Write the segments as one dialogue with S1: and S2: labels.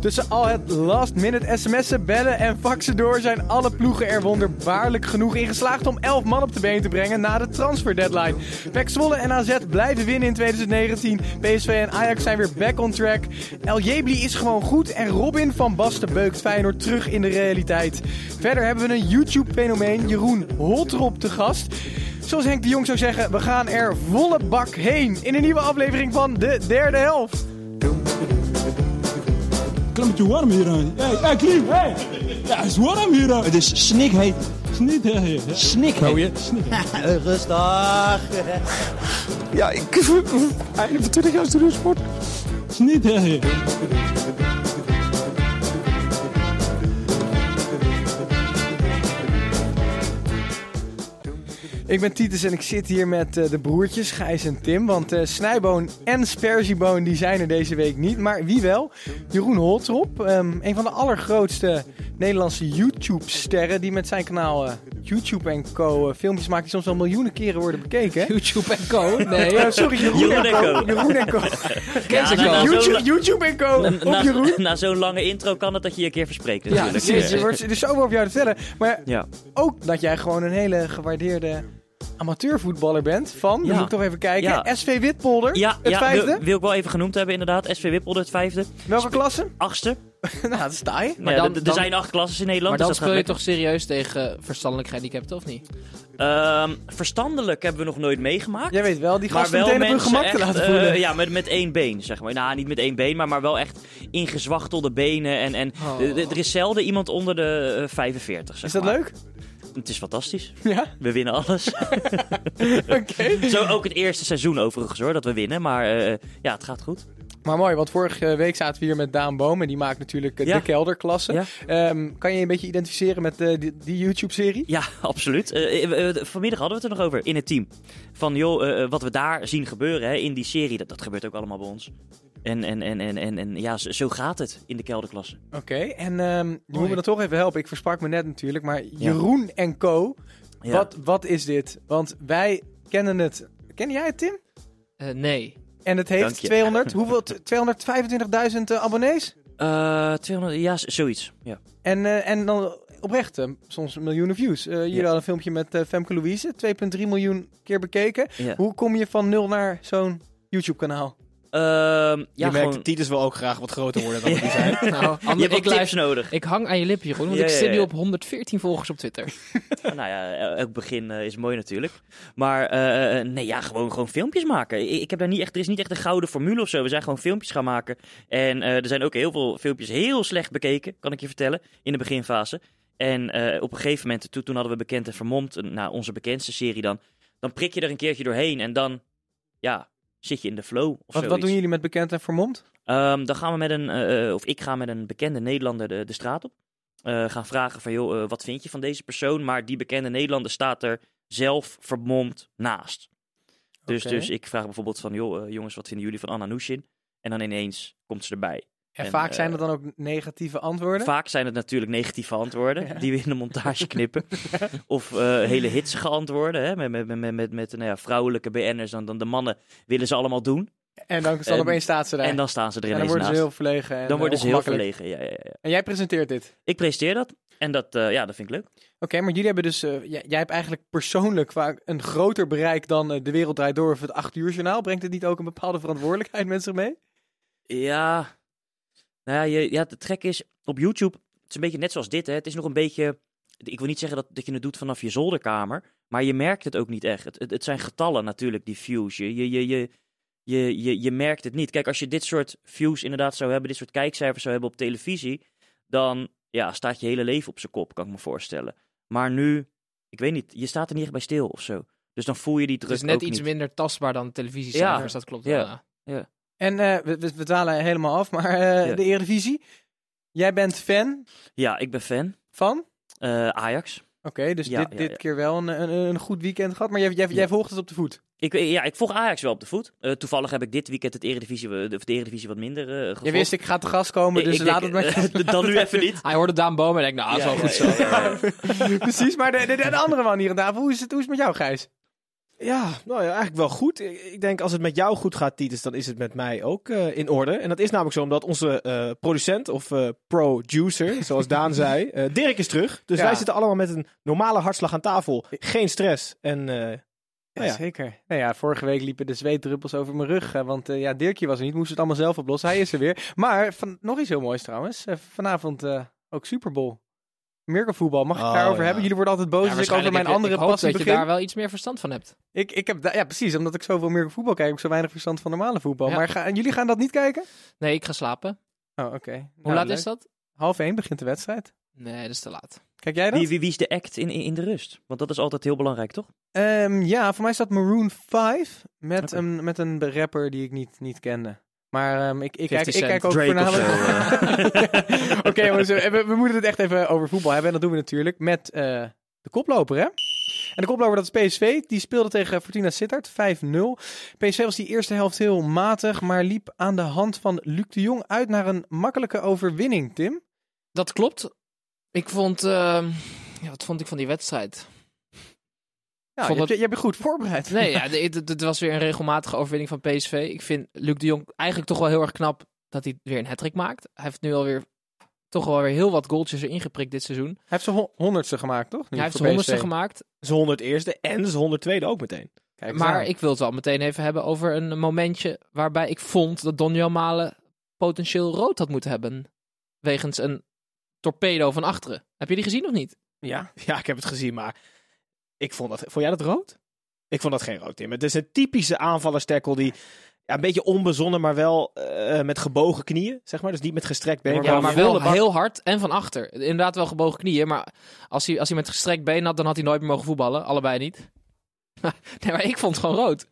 S1: Tussen al het last minute sms'en, bellen en faxen door zijn alle ploegen er wonderbaarlijk genoeg in geslaagd om 11 man op de been te brengen na de transfer deadline. PEC Zwolle en AZ blijven winnen in 2019. PSV en Ajax zijn weer back on track. El Jebli is gewoon goed en Robin van Basten beukt Feyenoord terug in de realiteit. Verder hebben we een YouTube-fenomeen, Jeroen Holtrop, te gast. Zoals Henk de Jong zou zeggen, we gaan er volle bak heen in een nieuwe aflevering van de derde helft.
S2: Klemmetje warm hier. aan. Hey, hey, Klim, hey. Ja, het is warm hier. aan. Het is snikheet. Snikheet. Snikheet. Snikheet.
S3: Rustig.
S2: Ja, ik... Einde van 20 jaar studeersport. Snikheet.
S1: Ik ben Titus en ik zit hier met eh, de broertjes Gijs en Tim. Want eh, Snijboon en Sperzieboon die zijn er deze week niet. Maar wie wel? Jeroen Holtrop, ehm, een van de allergrootste Nederlandse YouTube-sterren... die met zijn kanaal eh, YouTube en Co. eh, filmpjes maakt die soms wel miljoenen keren worden bekeken. hè?
S4: YouTube en Co. Nee, nou,
S1: Eh, sorry, Jeroen,
S5: Jeroen en Co.
S1: Jeroen en Co.
S5: Ja,
S4: ze
S5: na-
S4: Co.
S5: na zo'n
S1: YouTube,
S5: la-
S1: YouTube en Co.
S5: na-
S1: op
S5: na-
S1: Jeroen.
S5: Na zo'n lange intro kan het dat je je een keer verspreekt
S4: Ja,
S5: natuurlijk.
S1: Precies, er wordt er is zoveel over jou te vertellen. Maar
S5: Ja.
S1: ook dat jij gewoon een hele gewaardeerde amateurvoetballer bent. Van, dan
S5: Ja.
S1: moet ik toch even kijken,
S5: Ja.
S1: SV Witpolder,
S5: Ja,
S1: het
S5: ja,
S1: vijfde.
S5: Wil, wil ik wel even genoemd hebben inderdaad. SV Wippelde het vijfde.
S1: Welke klasse?
S5: Achtste.
S1: nou, dat sta je.
S4: Maar
S5: Ja,
S4: dan-
S5: d- d- er
S4: dan-
S5: zijn acht klasses in Nederland.
S4: Maar dan
S5: dus dat
S4: speel je
S5: gaat
S4: toch serieus tegen eh, verstandelijk gehandicapten, of niet?
S5: lekker. Ehm, verstandelijk hebben we nog nooit meegemaakt.
S1: Jij weet wel, die
S5: maar
S1: gasten
S5: wel
S1: meteen op hun
S5: mensen
S1: gemak
S5: echt,
S1: te laten
S5: eh,
S1: voelen.
S5: ja, met, met één been, zeg maar. Nou, niet met één been, maar, maar wel echt ingezwachtelde benen. En, en
S4: Oh.
S5: eh, d- er is zelden iemand onder de eh, 45, zeg
S1: Is dat
S5: maar.
S1: leuk?
S5: Het is fantastisch.
S1: Ja?
S5: We winnen alles.
S1: Oké.
S5: Zo ook het eerste seizoen overigens hoor, dat we winnen. Maar eh, ja, het gaat goed.
S1: Maar mooi, want vorige week zaten we hier met Daan Boom. En die maakt natuurlijk eh,
S5: Ja.
S1: de kelderklasse.
S5: Ja.
S1: Ehm, kan je je een beetje identificeren met eh, die, die YouTube-serie?
S5: Ja, absoluut. Eh, eh, eh, vanmiddag hadden we het er nog over in het team. Van joh, eh, eh, wat we daar zien gebeuren hè, in die serie, dat, dat gebeurt ook allemaal bij ons. En, en, en, en, en, en ja, zo, zo gaat het in de kelderklasse.
S1: Oké. En ehm je moet me dan toch even helpen. Ik versprak me net natuurlijk. Maar Jeroen en Co.
S5: Ja.
S1: Wat, wat is dit? Want wij kennen het. Ken jij het, Tim?
S4: Eh, nee.
S1: En het
S5: Dank
S1: heeft
S5: je.
S1: 200, hoeveel? 225.000 eh, abonnees?
S5: Eh, 200, ja, z- zoiets. Ja.
S1: En, eh, en dan oprecht, eh, soms miljoenen views. Eh jullie
S5: Ja.
S1: hadden een filmpje met eh, Femke Louise, 2,3 miljoen keer bekeken.
S5: Ja.
S1: Hoe kom je van nul naar zo'n YouTube-kanaal?
S5: Ehm, ja,
S6: je merkt,
S5: gewoon...
S6: Titus wil ook graag wat groter worden dan die zijn.
S4: Nou,
S5: Je
S4: ander,
S5: hebt
S4: ik,
S5: ook tips
S4: luister,
S5: nodig.
S4: ik hang aan je lippen, Jeroen, want
S5: Ja,
S4: ik
S5: ja,
S4: zit nu
S5: ja.
S4: op 114 volgers op Twitter.
S5: Nou ja, el- elk begin eh, is mooi natuurlijk. Maar eh, eh, nee, ja, gewoon, gewoon filmpjes maken. I- Ik heb daar niet echt, er is niet echt een gouden formule of zo. We zijn gewoon filmpjes gaan maken. En eh, er zijn ook heel veel filmpjes heel slecht bekeken, kan ik je vertellen, in de beginfase. En eh, op een gegeven moment, toen, toen hadden we Bekend en Vermomd, een- nou, onze bekendste serie dan. Dan prik je er een keertje doorheen en dan, ja, zit je in de flow of
S1: Wat,
S5: zoiets.
S1: wat doen jullie met Bekend en Vermomd?
S5: Ehm, dan gaan we met een, eh, eh, of ik ga met een bekende Nederlander de, de straat op. Eh, gaan vragen van, joh, eh, wat vind je van deze persoon? Maar die bekende Nederlander staat er zelf vermomd naast. Dus,
S1: Oké.
S5: dus ik vraag bijvoorbeeld van, joh, eh, jongens, wat vinden jullie van Anna Nushin? En dan ineens komt ze erbij.
S1: En,
S5: En,
S1: vaak
S5: eh,
S1: zijn er dan ook negatieve antwoorden.
S5: Vaak zijn het natuurlijk negatieve antwoorden die we in de montage knippen. of eh, hele hitsige antwoorden, hè, met, met, met, met, met, nou ja, vrouwelijke BN'ers. Dan, dan de mannen willen ze allemaal doen.
S1: en dan, dan
S5: en-
S1: opeens staat ze daar.
S5: En dan staan ze er
S1: En dan
S5: ineens
S1: worden ze
S5: naast.
S1: heel verlegen. En,
S5: dan worden
S1: eh,
S5: ze heel
S1: ongemakkelijk.
S5: verlegen, ja, ja, ja.
S1: En jij presenteert dit. Oké,
S5: Ik presenteer dat. En dat, eh, ja, dat vind ik leuk.
S1: maar jullie hebben dus... eh, j- jij, hebt eigenlijk persoonlijk vaak een groter bereik dan eh, De Wereld Draait Door of het 8 uur journaal. Brengt het niet ook een bepaalde verantwoordelijkheid met zich mee?
S5: Ja. Nou ja, je, ja, de trek is op YouTube. Het is een beetje net zoals dit. Hè. Het is nog een beetje. Ik wil niet zeggen dat, dat je het doet vanaf je zolderkamer. Maar je merkt het ook niet echt. Het, het, het zijn getallen natuurlijk, die views. Je, je, je, je, je, je, je merkt het niet. Kijk, als je dit soort views inderdaad zou hebben. Dit soort kijkcijfers zou hebben op televisie. Dan ja, staat je hele leven op zijn kop, kan ik me voorstellen. Maar nu, ik weet niet. Je staat er niet echt bij stil of zo. Dus dan voel je die
S4: Het
S5: druk
S4: is net
S5: ook
S4: iets
S5: niet.
S4: minder tastbaar dan televisiecijfers, dat klopt wel.
S5: Ja.
S4: ja.
S5: Ja.
S1: En eh, we, we, we dwalen helemaal af, maar eh,
S5: Ja.
S1: de Eredivisie. Jij bent fan
S5: Ja, ik ben fan.
S1: van? Oké,
S5: Eh, Ajax.
S1: dus
S5: Ja,
S1: dit,
S5: ja,
S1: dit
S5: ja.
S1: keer wel een, een, een goed weekend gehad, maar jij, jij, jij
S5: Ja.
S1: volgt het op de voet.
S5: Ik, ja, ik volg Ajax wel op de voet. Eh, toevallig heb ik dit weekend het Eredivisie, eh, de, de Eredivisie wat minder eh gevolgd.
S1: Je wist, ik ga te gast komen,
S5: Ik-
S1: dus
S5: ik
S1: laat
S5: denk,
S1: het maar.
S5: eh, dan nu even niet.
S4: Hij Ah, hoorde Daan Boom en denkt, nou, is wel
S5: Ja,
S4: goed zo.
S5: ja, ja, ja.
S1: Precies, maar de, de, de andere man hier aan tafel, hoe is het, hoe is het met jou, Gijs?
S3: Ja, nou ja, eigenlijk wel goed. Ik ik denk als het met jou goed gaat, Titus, dan is het met mij ook eh, in orde. En dat is namelijk zo omdat onze eh, producent of eh, producer, zoals Daan zei, eh, Dirk is terug. Dus
S1: Ja.
S3: wij zitten allemaal met een normale hartslag aan tafel. Geen stress. En eh,
S1: Ja,
S3: Nou ja.
S1: zeker. Nou ja, vorige week liepen de zweetdruppels over mijn rug. eh, Want eh, ja, Dirkje was er niet, moest het allemaal zelf oplossen. Hij is er weer. Maar van, nog iets heel moois trouwens. Eh, vanavond eh, ook Super Bowl. Merkelvoetbal, mag ik
S3: Oh,
S1: daarover
S3: ja.
S1: hebben? Jullie worden altijd boos als ik over mijn andere
S4: ik hoop
S1: passie
S4: dat je
S1: begin.
S4: daar wel iets meer verstand van hebt.
S1: Ik, ik heb, da- ja, precies. Omdat ik zoveel Merkelvoetbal kijk, heb ik zo weinig verstand van normale voetbal.
S4: Ja.
S1: Maar ga, en jullie gaan dat niet kijken?
S4: Nee, ik ga slapen.
S1: Oh, oké.
S4: Hoe laat is dat?
S1: Half één begint de wedstrijd.
S4: Nee, dat is te laat.
S1: Kijk jij dat?
S5: Wie, wie, wie is de act in, in, in de rust? Want dat is altijd heel belangrijk, toch?
S1: Ehm, ja, voor mij staat Maroon 5 met,
S5: Oké.
S1: een, met een rapper die ik niet, niet kende. Maar ehm, ik, ik, kijk,
S4: 50
S1: ik kijk ook
S5: Cent, Drake of
S1: voornamelijk... Oké, jongens, eh, we, we moeten het echt even over voetbal hebben. En dat doen we natuurlijk met eh, de koploper, hè? En de koploper, dat is PSV. Die speelde tegen Fortuna Sittard, 5-0. PSV was die eerste helft heel matig, maar liep aan de hand van Luc de Jong uit naar een makkelijke overwinning, Tim.
S4: Dat klopt. Ik vond... ehm, ja, wat vond ik van die wedstrijd?
S1: Ja,
S4: Vond
S1: je,
S4: het-
S1: hebt, je, je bent goed voorbereid.
S4: Nee, ja, de- het- het was weer een regelmatige overwinning van PSV. Ik vind Luc de Jong eigenlijk toch wel heel erg knap dat hij weer een hattrick maakt. Hij heeft nu alweer toch wel weer heel wat goaltjes erin geprikt dit seizoen.
S1: Hij heeft zijn hon- honderdste gemaakt, toch? Nu
S4: hij heeft
S1: voor
S4: zijn honderdste
S1: PSV.
S4: gemaakt.
S3: zijn 101ste en zijn 102e ook meteen.
S1: Kijk eens
S4: Maar
S1: aan.
S4: ik wil het wel meteen even hebben over een momentje waarbij ik vond dat Donny Malen potentieel rood had moeten hebben. Wegens een torpedo van achteren. Heb je die gezien of niet?
S3: Ja. Ja, ik heb het gezien, maar ik vond dat... Vond jij dat rood? Ik vond dat geen rood, Tim. Het is een typische aanvallersterkel die... Ja, een beetje onbezonnen, maar wel eh, met gebogen knieën, zeg maar. Dus niet met gestrekt been.
S5: Ja,
S4: Ja,
S3: gewoon
S4: maar
S3: volle
S4: wel
S3: bak.
S4: heel hard en van achter. Inderdaad wel gebogen knieën, maar als hij, als hij met gestrekt been had, dan had hij nooit meer mogen voetballen. Allebei niet. nee, maar ik vond het gewoon rood.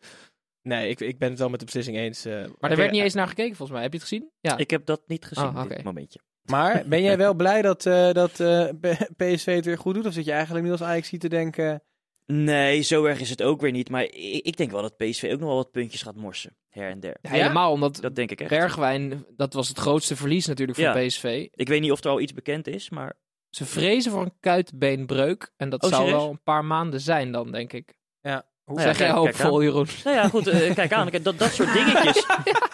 S3: Nee, ik, ik ben het wel met de beslissing eens. eh,
S4: Maar er werd niet eens naar gekeken volgens mij. Heb je het gezien? Ja.
S5: Ik heb dat niet gezien,
S4: Ah, oké.
S5: dit momentje.
S1: Maar ben jij wel blij dat, eh, dat eh, P- PSV het weer goed doet? Of zit je eigenlijk nu als Ajax te denken...
S5: Nee, zo erg is het ook weer niet. Maar ik, ik denk wel dat PSV ook nog wel wat puntjes gaat morsen. Her en der.
S4: Ja, Helemaal omdat
S5: Dat denk ik echt.
S4: Bergwijn, dat was het grootste verlies natuurlijk voor
S5: Ja.
S4: PSV.
S5: Ik weet niet of er al iets bekend is, maar
S4: Ze vrezen voor een kuitbeenbreuk. En dat
S5: Oh,
S4: zou
S5: serieus?
S4: wel een paar maanden zijn dan, denk ik.
S1: Hoe
S5: Nou ja,
S4: zeg jij
S5: kijk- kijk
S4: hoopvol, Jeroen?
S5: Nou ja, goed, eh, kijk aan. Kijk, Dat, dat soort dingetjes.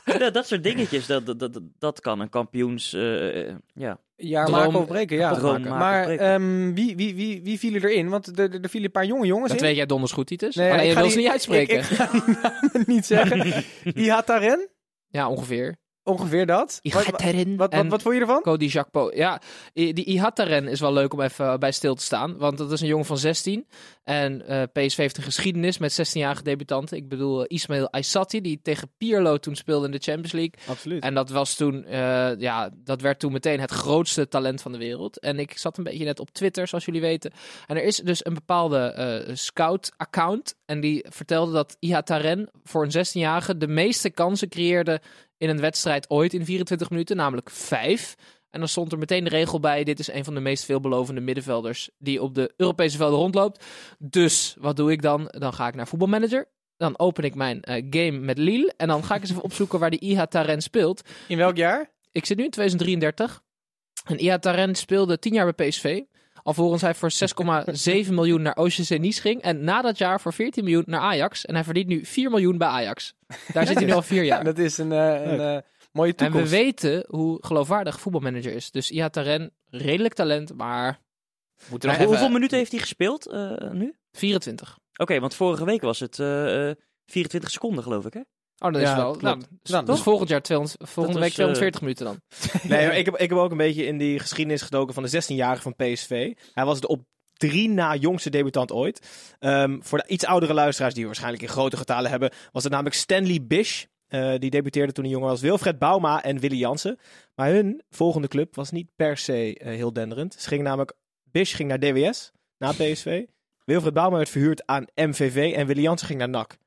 S5: Ja, dat soort dingetjes, dat, dat, dat, dat kan een kampioens. eh, eh, ja.
S1: Jaar
S4: Droom-
S1: maken of breken, ja.
S5: droom maken of
S1: maar
S4: eh,
S5: breken.
S1: ehm, wie, wie, wie, wie vielen erin? Want er, er- er vielen een paar jonge jongens
S4: Dat
S1: in.
S4: weet jij donders goed, Titus.
S1: Nee,
S4: Alleen
S1: ik
S4: je
S1: ga
S4: wil ze
S1: die-
S4: niet uitspreken.
S1: Ik, ik ga die namen niet zeggen. Ihataren,
S4: Ja, ongeveer.
S1: ongeveer dat. Wat, wat,
S4: Ihataren
S1: wat,
S4: en
S1: wat, vond je ervan?
S4: Cody Jacpo. Ja, i- die Ihataren is wel leuk om even eh, bij stil te staan. Want dat is een jongen van 16. En eh, PSV heeft een geschiedenis met 16-jarige debutanten. Ik bedoel eh, Ismail Aissati, die tegen Pirlo toen speelde in de Champions League.
S3: Absoluut.
S4: En dat was toen, eh, ja, dat werd toen meteen het grootste talent van de wereld. En ik zat een beetje net op Twitter, zoals jullie weten. En er is dus een bepaalde eh, scout-account. En die vertelde dat Ihataren voor een 16-jarige de meeste kansen creëerde in een wedstrijd ooit in 24 minuten, namelijk vijf. En dan stond er meteen de regel bij: dit is een van de meest veelbelovende middenvelders die op de Europese velden rondloopt. Dus wat doe ik dan? Dan ga ik naar voetbalmanager. Dan open ik mijn eh, game met Lille. En dan ga ik eens even opzoeken waar die Ihataren speelt.
S1: In welk jaar?
S4: Ik zit nu in 2033. En Iataren speelde 10 jaar bij PSV. Alvorens hij voor 6,7 miljoen naar Oceaan Nice ging. En na dat jaar voor 14 miljoen naar Ajax. En hij verdient nu 4 miljoen bij Ajax. Daar zit hij nu al vier jaar.
S1: Dat is een, eh, een eh, mooie
S4: en we
S1: toekomst.
S4: weten hoe geloofwaardig voetbalmanager is. Dus Iataren, redelijk talent, maar
S5: Hoe-
S4: nog even-
S5: Hoeveel minuten heeft hij gespeeld eh, nu? Oké,
S4: 24.
S5: want vorige week was het eh, eh, 24 seconden, geloof ik. Hè?
S4: Oh, dat
S1: Ja,
S4: is wel.
S1: klopt.
S4: Nou, dus,
S1: Dan-
S4: dus volgend jaar 200, volgende
S5: Dat
S4: week
S5: is, eh,
S4: 240 minuten dan.
S3: Nee, maar ik, heb, ik heb ook een beetje in die geschiedenis gedoken van de 16-jarige van PSV. Hij was de op drie na jongste debutant ooit. Ehm, voor de iets oudere luisteraars die we waarschijnlijk in grote getalen hebben, was het namelijk Stanley Bish. Eh, die debuteerde toen hij jonger was. Wilfred Bauma en Willy Jansen. Maar hun volgende club was niet per se eh, heel denderend. Ze gingen namelijk, Bish ging naar DWS, na PSV. Wilfred Bauma werd verhuurd aan MVV en Willy Jansen ging naar NAC.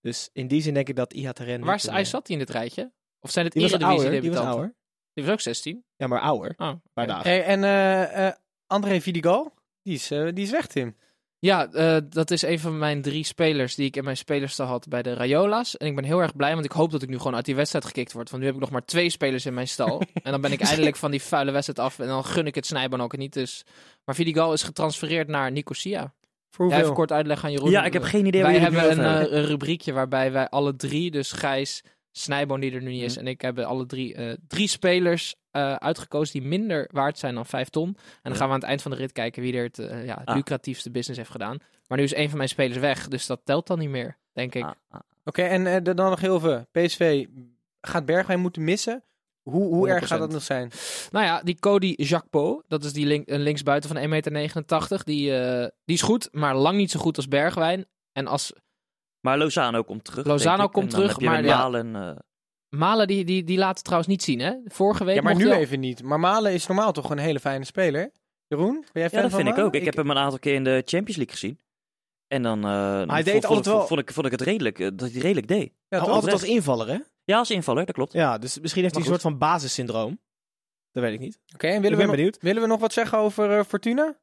S3: Dus in die zin denk ik dat Iataren...
S4: Waar is, hij zat hij in dit rijtje? Of zijn het
S3: Die was
S4: eredivisie
S3: ouder. Die was
S4: debutanten?
S3: ouder.
S4: Die was ook 16.
S3: Ja, maar ouder.
S4: Oh,
S3: Paar dagen.
S1: Hey, en eh, eh, André Vidigal, die is, eh, die is weg, Tim.
S4: Ja, eh, dat is een van mijn drie spelers die ik in mijn spelerstal had bij de Rayola's. En ik ben heel erg blij, want ik hoop dat ik nu gewoon uit die wedstrijd gekikt word. Want nu heb ik nog maar twee spelers in mijn stal. en dan ben ik eindelijk van die vuile wedstrijd af. En dan gun ik het Snijboon ook niet. Dus. Maar Vidigal is getransfereerd naar Nicosia.
S1: Voor
S4: Jij
S1: hoeveel?
S4: even kort uitleg aan Jeroen.
S5: Ja, ik heb geen idee waar
S4: Wij
S5: jullie het
S4: hebben een,
S5: nu over hebben.
S4: eh, een rubriekje waarbij wij alle drie, dus Gijs, Snijboon die er nu niet is, en ik hebben alle drie eh, drie spelers eh, uitgekozen die minder waard zijn dan 5 ton. En dan gaan we aan het eind van de rit kijken wie er het, eh, ja, het
S5: Ah.
S4: lucratiefste business heeft gedaan. Maar nu is een van mijn spelers weg, dus dat telt dan niet meer, denk ik.
S5: Ah, ah.
S1: Oké, en eh, de- dan nog heel veel. PSV gaat Bergwijn moeten missen. Hoe, hoe erg gaat dat nog zijn?
S4: 100%. Nou ja, die Cody Jacpo, dat is die link, een linksbuiten van 1,89 meter. Die, eh, die is goed, maar lang niet zo goed als Bergwijn. En als
S5: Maar Lozano komt terug.
S4: Lozano
S5: denk ik.
S4: komt
S5: En dan
S4: terug,
S5: heb je
S4: maar
S5: met
S4: ja.
S5: Malen, eh,
S4: Malen, die, die, die laat het trouwens niet zien, hè? Vorige week
S1: Ja, maar
S4: mocht
S1: nu
S4: hij al-
S1: even niet. Maar Malen is normaal toch een hele fijne speler? Jeroen, ben jij fan
S5: Ja,
S1: van
S5: dat vind ik
S1: Malen?
S5: ook. Ik, heb hem een aantal keer in de Champions League gezien. En dan eh,
S3: hij deed
S5: vond- vond,
S3: altijd
S5: ik-
S3: wel-
S5: vond ik, vond ik het redelijk, eh, dat hij redelijk deed.
S1: Ja, toch?
S3: altijd als invaller, hè?
S5: Ja, als invaller, dat klopt.
S3: Oh, Ja, dus misschien heeft hij een
S5: Maar
S3: soort van basissyndroom. Dat weet ik niet.
S1: Oké, en willen
S3: ik ben
S1: we, nog,
S3: benieuwd.
S1: willen we nog wat zeggen over eh, Fortuna?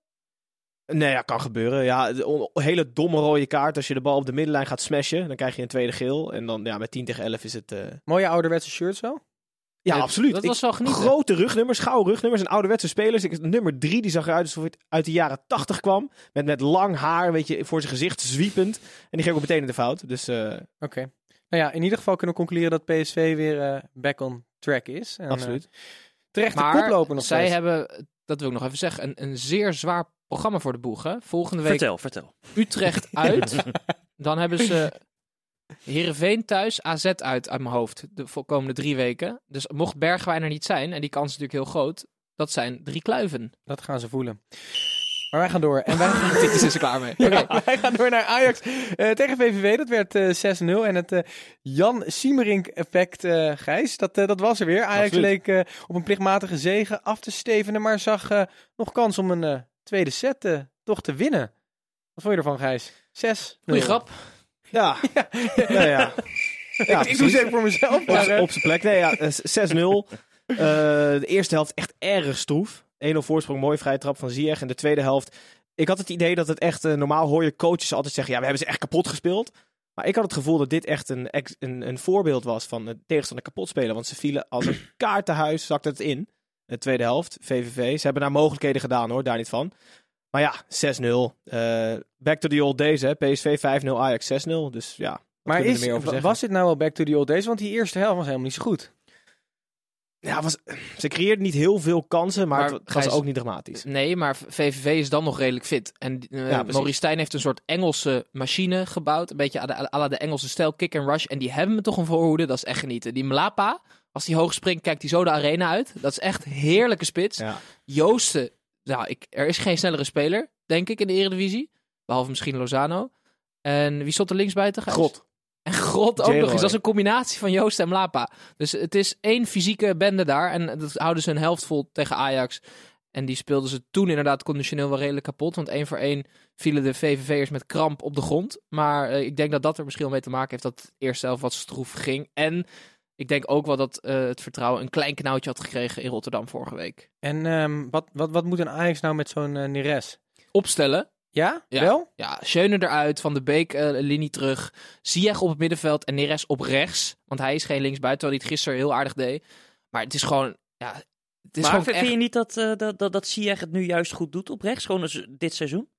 S3: Nee, dat kan gebeuren. Ja, de on- hele domme rode kaart. Als je de bal op de middenlijn gaat smashen, dan krijg je een tweede geel. En dan ja, met 10 tegen 11 is het... eh,
S1: Mooie ouderwetse shirts wel.
S3: Ja,
S4: Ja,
S3: absoluut.
S4: Dat
S3: Ik-
S4: was wel genieten.
S3: Grote rugnummers, gouden rugnummers en ouderwetse spelers. Ik, nummer drie die zag eruit alsof hij uit de jaren 80 kwam. Met, met lang haar, weet je, voor zijn gezicht zwiepend. En die ging ook meteen in de fout. Dus eh,
S1: Oké. Nou ja, in ieder geval kunnen we concluderen dat PSV weer eh, back on track is. En, eh,
S3: absoluut.
S1: terecht de
S4: Maar
S1: koploper nog
S4: zij
S1: steeds.
S4: hebben, dat wil ik nog even zeggen, een, een zeer zwaar programma voor de boeg. Hè? Volgende week
S5: Vertel, vertel.
S4: Utrecht uit. Dan hebben ze Heerenveen thuis, AZ uit uit mijn hoofd. De vo- komende drie weken. Dus mocht Bergwijn er niet zijn, en die kans is natuurlijk heel groot, dat zijn drie kluiven.
S1: Dat gaan ze voelen. Maar wij gaan door. En wij gaan...
S4: Dit is dus klaar mee. Oké.
S1: Wij gaan door naar Ajax eh, tegen VVV. Dat werd eh, 6-0. En het eh, Jan Siemerink effect, eh, Gijs, dat, eh, dat was er weer. Ajax
S3: Absoluut.
S1: leek eh, op een plichtmatige zege af te stevenen, maar zag eh, nog kans om een eh, tweede set eh, toch te winnen. Wat vond je ervan, Gijs? 6
S4: Goeie grap.
S3: Ja, ja. ja, ja.
S1: ik, ik doe
S3: precies.
S1: ze even voor mezelf.
S3: Op
S1: maar,
S3: z'n-
S1: eh,
S3: Op zijn plek. Nee, ja, eh, 6-0. Eh, de eerste helft echt erg stroef. 1-0 voorsprong, mooie vrije trap van Ziyech. En de tweede helft, ik had het idee dat het echt... eh, normaal hoor je coaches altijd zeggen, ja, we hebben ze echt kapot gespeeld. Maar ik had het gevoel dat dit echt een, ex- een, een voorbeeld was van het tegenstander kapot spelen. Want ze vielen als een kaart te huis, zakte het in. De tweede helft, VVV. Ze hebben daar mogelijkheden gedaan hoor, daar niet van. Maar ja, 6-0. Eh, back to the old days hè. PSV 5-0, Ajax 6-0. Dus ja, wat
S1: maar
S3: kunnen we
S1: is,
S3: er meer over zeggen?
S1: was dit nou wel back to the old days? Want die eerste helft was helemaal niet zo goed.
S3: Ja, was, ze creëerde niet heel veel kansen, maar,
S4: Maar
S3: het was
S4: Gijs-
S3: ook niet dramatisch.
S4: Nee, maar VVV is dan nog redelijk fit. En eh
S3: Ja, precies.
S4: Maurice Stijn heeft een soort Engelse machine gebouwd. Een beetje à de, à la de Engelse stijl, kick and rush. En die hebben me toch een voorhoede, dat is echt genieten. Die Mlapa, als die hoog springt, kijkt hij zo de arena uit. Dat is echt heerlijke spits.
S3: Ja.
S4: Joosten, nou, ik, er is geen snellere speler, denk ik, in de Eredivisie. Behalve misschien Lozano. En wie stond er links buiten? Gijs?
S3: God.
S4: En Grot ook
S3: J-Roy.
S4: nog eens. Dat is een combinatie van Joost en Mlapa. Dus het is één fysieke bende daar. En dat houden ze een helft vol tegen Ajax. En die speelden ze toen inderdaad conditioneel wel redelijk kapot. Want één voor één vielen de VVV'ers met kramp op de grond. Maar eh, ik denk dat dat er misschien wel mee te maken heeft dat het eerste helft wat stroef ging. En ik denk ook wel dat eh, het vertrouwen een klein knauwtje had gekregen in Rotterdam vorige week.
S1: En ehm, wat, wat, wat moet een Ajax nou met zo'n eh, Neres?
S4: Opstellen.
S1: Ja?
S4: Ja.
S1: Wel?
S4: Ja, Schöne eruit, Van de Beek eh, linie terug. Ziyech op het middenveld en Neres op rechts. Want hij is geen linksbuiten, terwijl hij het gisteren heel aardig deed. Maar het is gewoon... Ja, het is
S5: Maar
S4: gewoon
S5: vind
S4: echt-
S5: je niet dat, eh dat, dat, dat Ziyech het nu juist goed doet op rechts? Gewoon als- dit seizoen?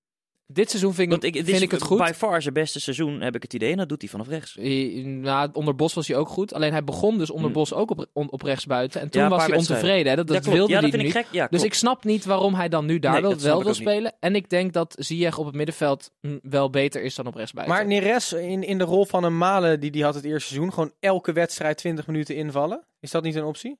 S4: Dit seizoen vind ik,
S5: Want ik, dit
S4: vind
S5: is
S4: ik het goed.
S5: By far zijn beste seizoen heb ik het idee. En dat doet hij vanaf rechts.
S4: Eh, Nou, onder Bos was hij ook goed. Alleen hij begon dus onder
S5: Hmm.
S4: Bos ook op, on- op rechtsbuiten. En toen
S5: Ja, een
S4: was
S5: paar
S4: hij
S5: wedstrijden.
S4: ontevreden. Hè? Dat, dat
S5: Ja, klopt.
S4: wilde
S5: ja,
S4: hij
S5: dat vind
S4: niet.
S5: ik gek. Ja,
S4: Dus
S5: klopt.
S4: ik snap niet waarom hij dan nu daar
S5: Nee,
S4: wel,
S5: dat snap
S4: wel
S5: ik
S4: wil
S5: ook niet.
S4: spelen. En ik denk dat Ziyech op het middenveld mm, wel beter is dan op rechtsbuiten.
S1: Maar Neres in, in de rol van een Malen die die had het eerste seizoen, gewoon elke wedstrijd 20 minuten invallen. Is dat niet een optie?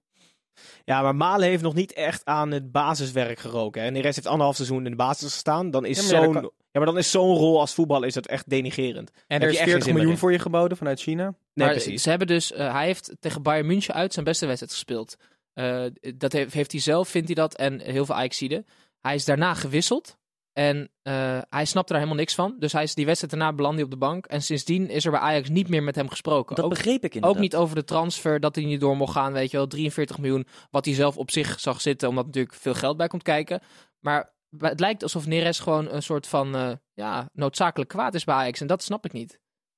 S3: Ja, maar Malen heeft nog niet echt aan het basiswerk geroken. Hè. En de rest heeft anderhalf seizoen in de basis gestaan. Dan is
S1: Ja, maar ja,
S3: zo'n...
S1: dat kan-
S3: Ja, maar dan is zo'n rol als voetbal is dat echt denigerend.
S1: En
S3: je
S1: er is
S3: echt geen
S1: 40
S3: zin meer
S1: miljoen
S3: in.
S1: voor je geboden vanuit China.
S3: Nee,
S4: maar
S3: precies.
S4: Ze hebben dus, eh, hij heeft tegen Bayern München uit zijn beste wedstrijd gespeeld. Eh, dat heeft, heeft hij zelf, vindt hij dat, en heel veel Ajaxiden. Hij is daarna gewisseld. En eh, hij snapte daar helemaal niks van. Dus hij is die wedstrijd daarna beland hij op de bank. En sindsdien is er bij Ajax niet meer met hem gesproken.
S5: Dat
S4: ook,
S5: begreep ik inderdaad.
S4: ook niet over de transfer, dat hij niet door mocht gaan. Weet je wel, 43 miljoen. Wat hij zelf op zich zag zitten, omdat natuurlijk veel geld bij komt kijken. Maar het lijkt alsof Neres gewoon een soort van eh, ja, noodzakelijk kwaad is bij Ajax. En dat snap ik niet.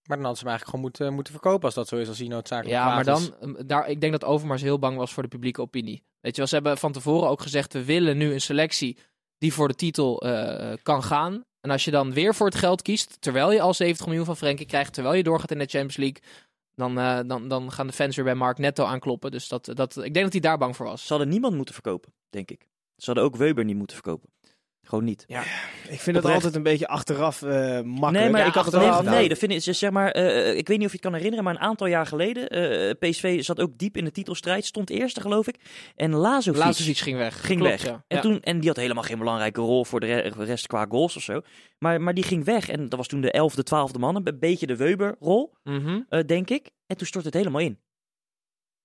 S1: Maar dan hadden ze hem eigenlijk gewoon moeten, moeten verkopen als dat zo is, als hij noodzakelijk
S4: Ja,
S1: kwaad
S4: maar
S1: is.
S4: dan, ehm, daar, ik denk dat Overmars heel bang was voor de publieke opinie. Weet je wel, ze hebben van tevoren ook gezegd, we willen nu een selectie die voor de titel eh, kan gaan. En als je dan weer voor het geld kiest, terwijl je al 70 miljoen van Frenkie krijgt, terwijl je doorgaat in de Champions League, dan, eh, dan, dan gaan de fans weer bij Mark Netto aankloppen. Dus dat, dat, ik denk dat hij daar bang voor was.
S5: Ze hadden niemand moeten verkopen, denk ik. Ze hadden ook Weber niet moeten verkopen. Gewoon niet.
S3: Ik vind dat
S5: Oprecht.
S3: altijd een beetje achteraf eh, makkelijk.
S5: Nee, maar
S3: Ja,
S5: ik had het
S3: achteraf
S5: nee,
S3: gedaan.
S5: nee, dat vind ik, zeg maar, eh, ik weet niet of je het kan herinneren, maar een aantal jaar geleden, eh, PSV zat ook diep in de titelstrijd, stond eerste geloof ik, en Lazovic
S4: Laatste iets ging weg.
S5: ging
S4: Klopt,
S5: weg.
S4: ja.
S5: En,
S4: Ja.
S5: Toen, en die had helemaal geen belangrijke rol voor de re- rest qua goals of zo, maar, maar die ging weg en dat was toen de elfde, twaalfde man, een beetje de Weber-rol,
S4: Mhm.
S5: eh, denk ik, en toen stort het helemaal in.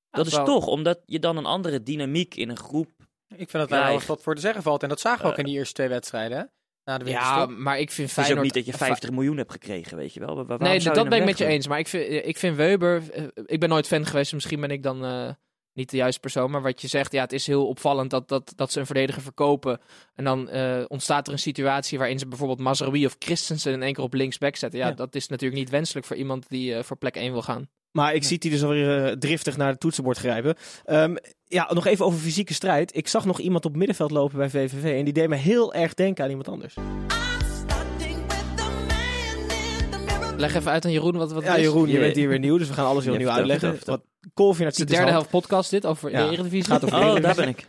S5: dat is
S4: wel-
S5: toch, omdat je dan een andere dynamiek in een groep...
S1: Ik vind dat daar wel
S5: Krijg.
S1: eens wat voor te zeggen valt. En dat zagen we ook in die eerste twee wedstrijden, hè? Na de
S4: Ja,
S1: winterstop.
S4: maar ik vind
S5: Het is ook
S4: Feyenoord...
S5: niet dat je 50 miljoen hebt gekregen, weet je wel. Wa- wa- waarom
S4: Nee, dat
S5: zou je
S4: dat
S5: hem
S4: ben ik met je
S5: wegdoen?
S4: eens. Maar ik vind, ik vind Weber... eh, Ik ben nooit fan geweest. dus Misschien ben ik dan eh, niet de juiste persoon. Maar wat je zegt, ja, het is heel opvallend dat, dat, dat ze een verdediger verkopen. En dan eh, ontstaat er een situatie waarin ze bijvoorbeeld Mazraoui of Christensen in één keer op linksback zetten. Ja,
S3: Ja.
S4: dat is natuurlijk niet wenselijk voor iemand die eh, voor plek 1 wil gaan.
S3: Maar ik zie die dus alweer eh, driftig naar het toetsenbord grijpen. Ehm, ja, nog even over fysieke strijd. Ik zag nog iemand op middenveld lopen bij VVV. En die deed me heel erg denken aan iemand anders.
S4: Leg even uit aan Jeroen wat, wat het
S3: Ja,
S4: is.
S3: Jeroen, je
S5: Ja.
S3: bent hier weer nieuw. Dus we gaan alles
S5: Ja,
S3: weer opnieuw
S5: vertel,
S3: uitleggen.
S5: vertel,
S3: Wat Colvin uit
S4: Het is de
S3: Citizens
S4: derde
S3: had.
S4: helft podcast dit over
S3: Ja.
S4: de Eredivisie.
S3: Gaat over-
S5: Oh, daar ben ik.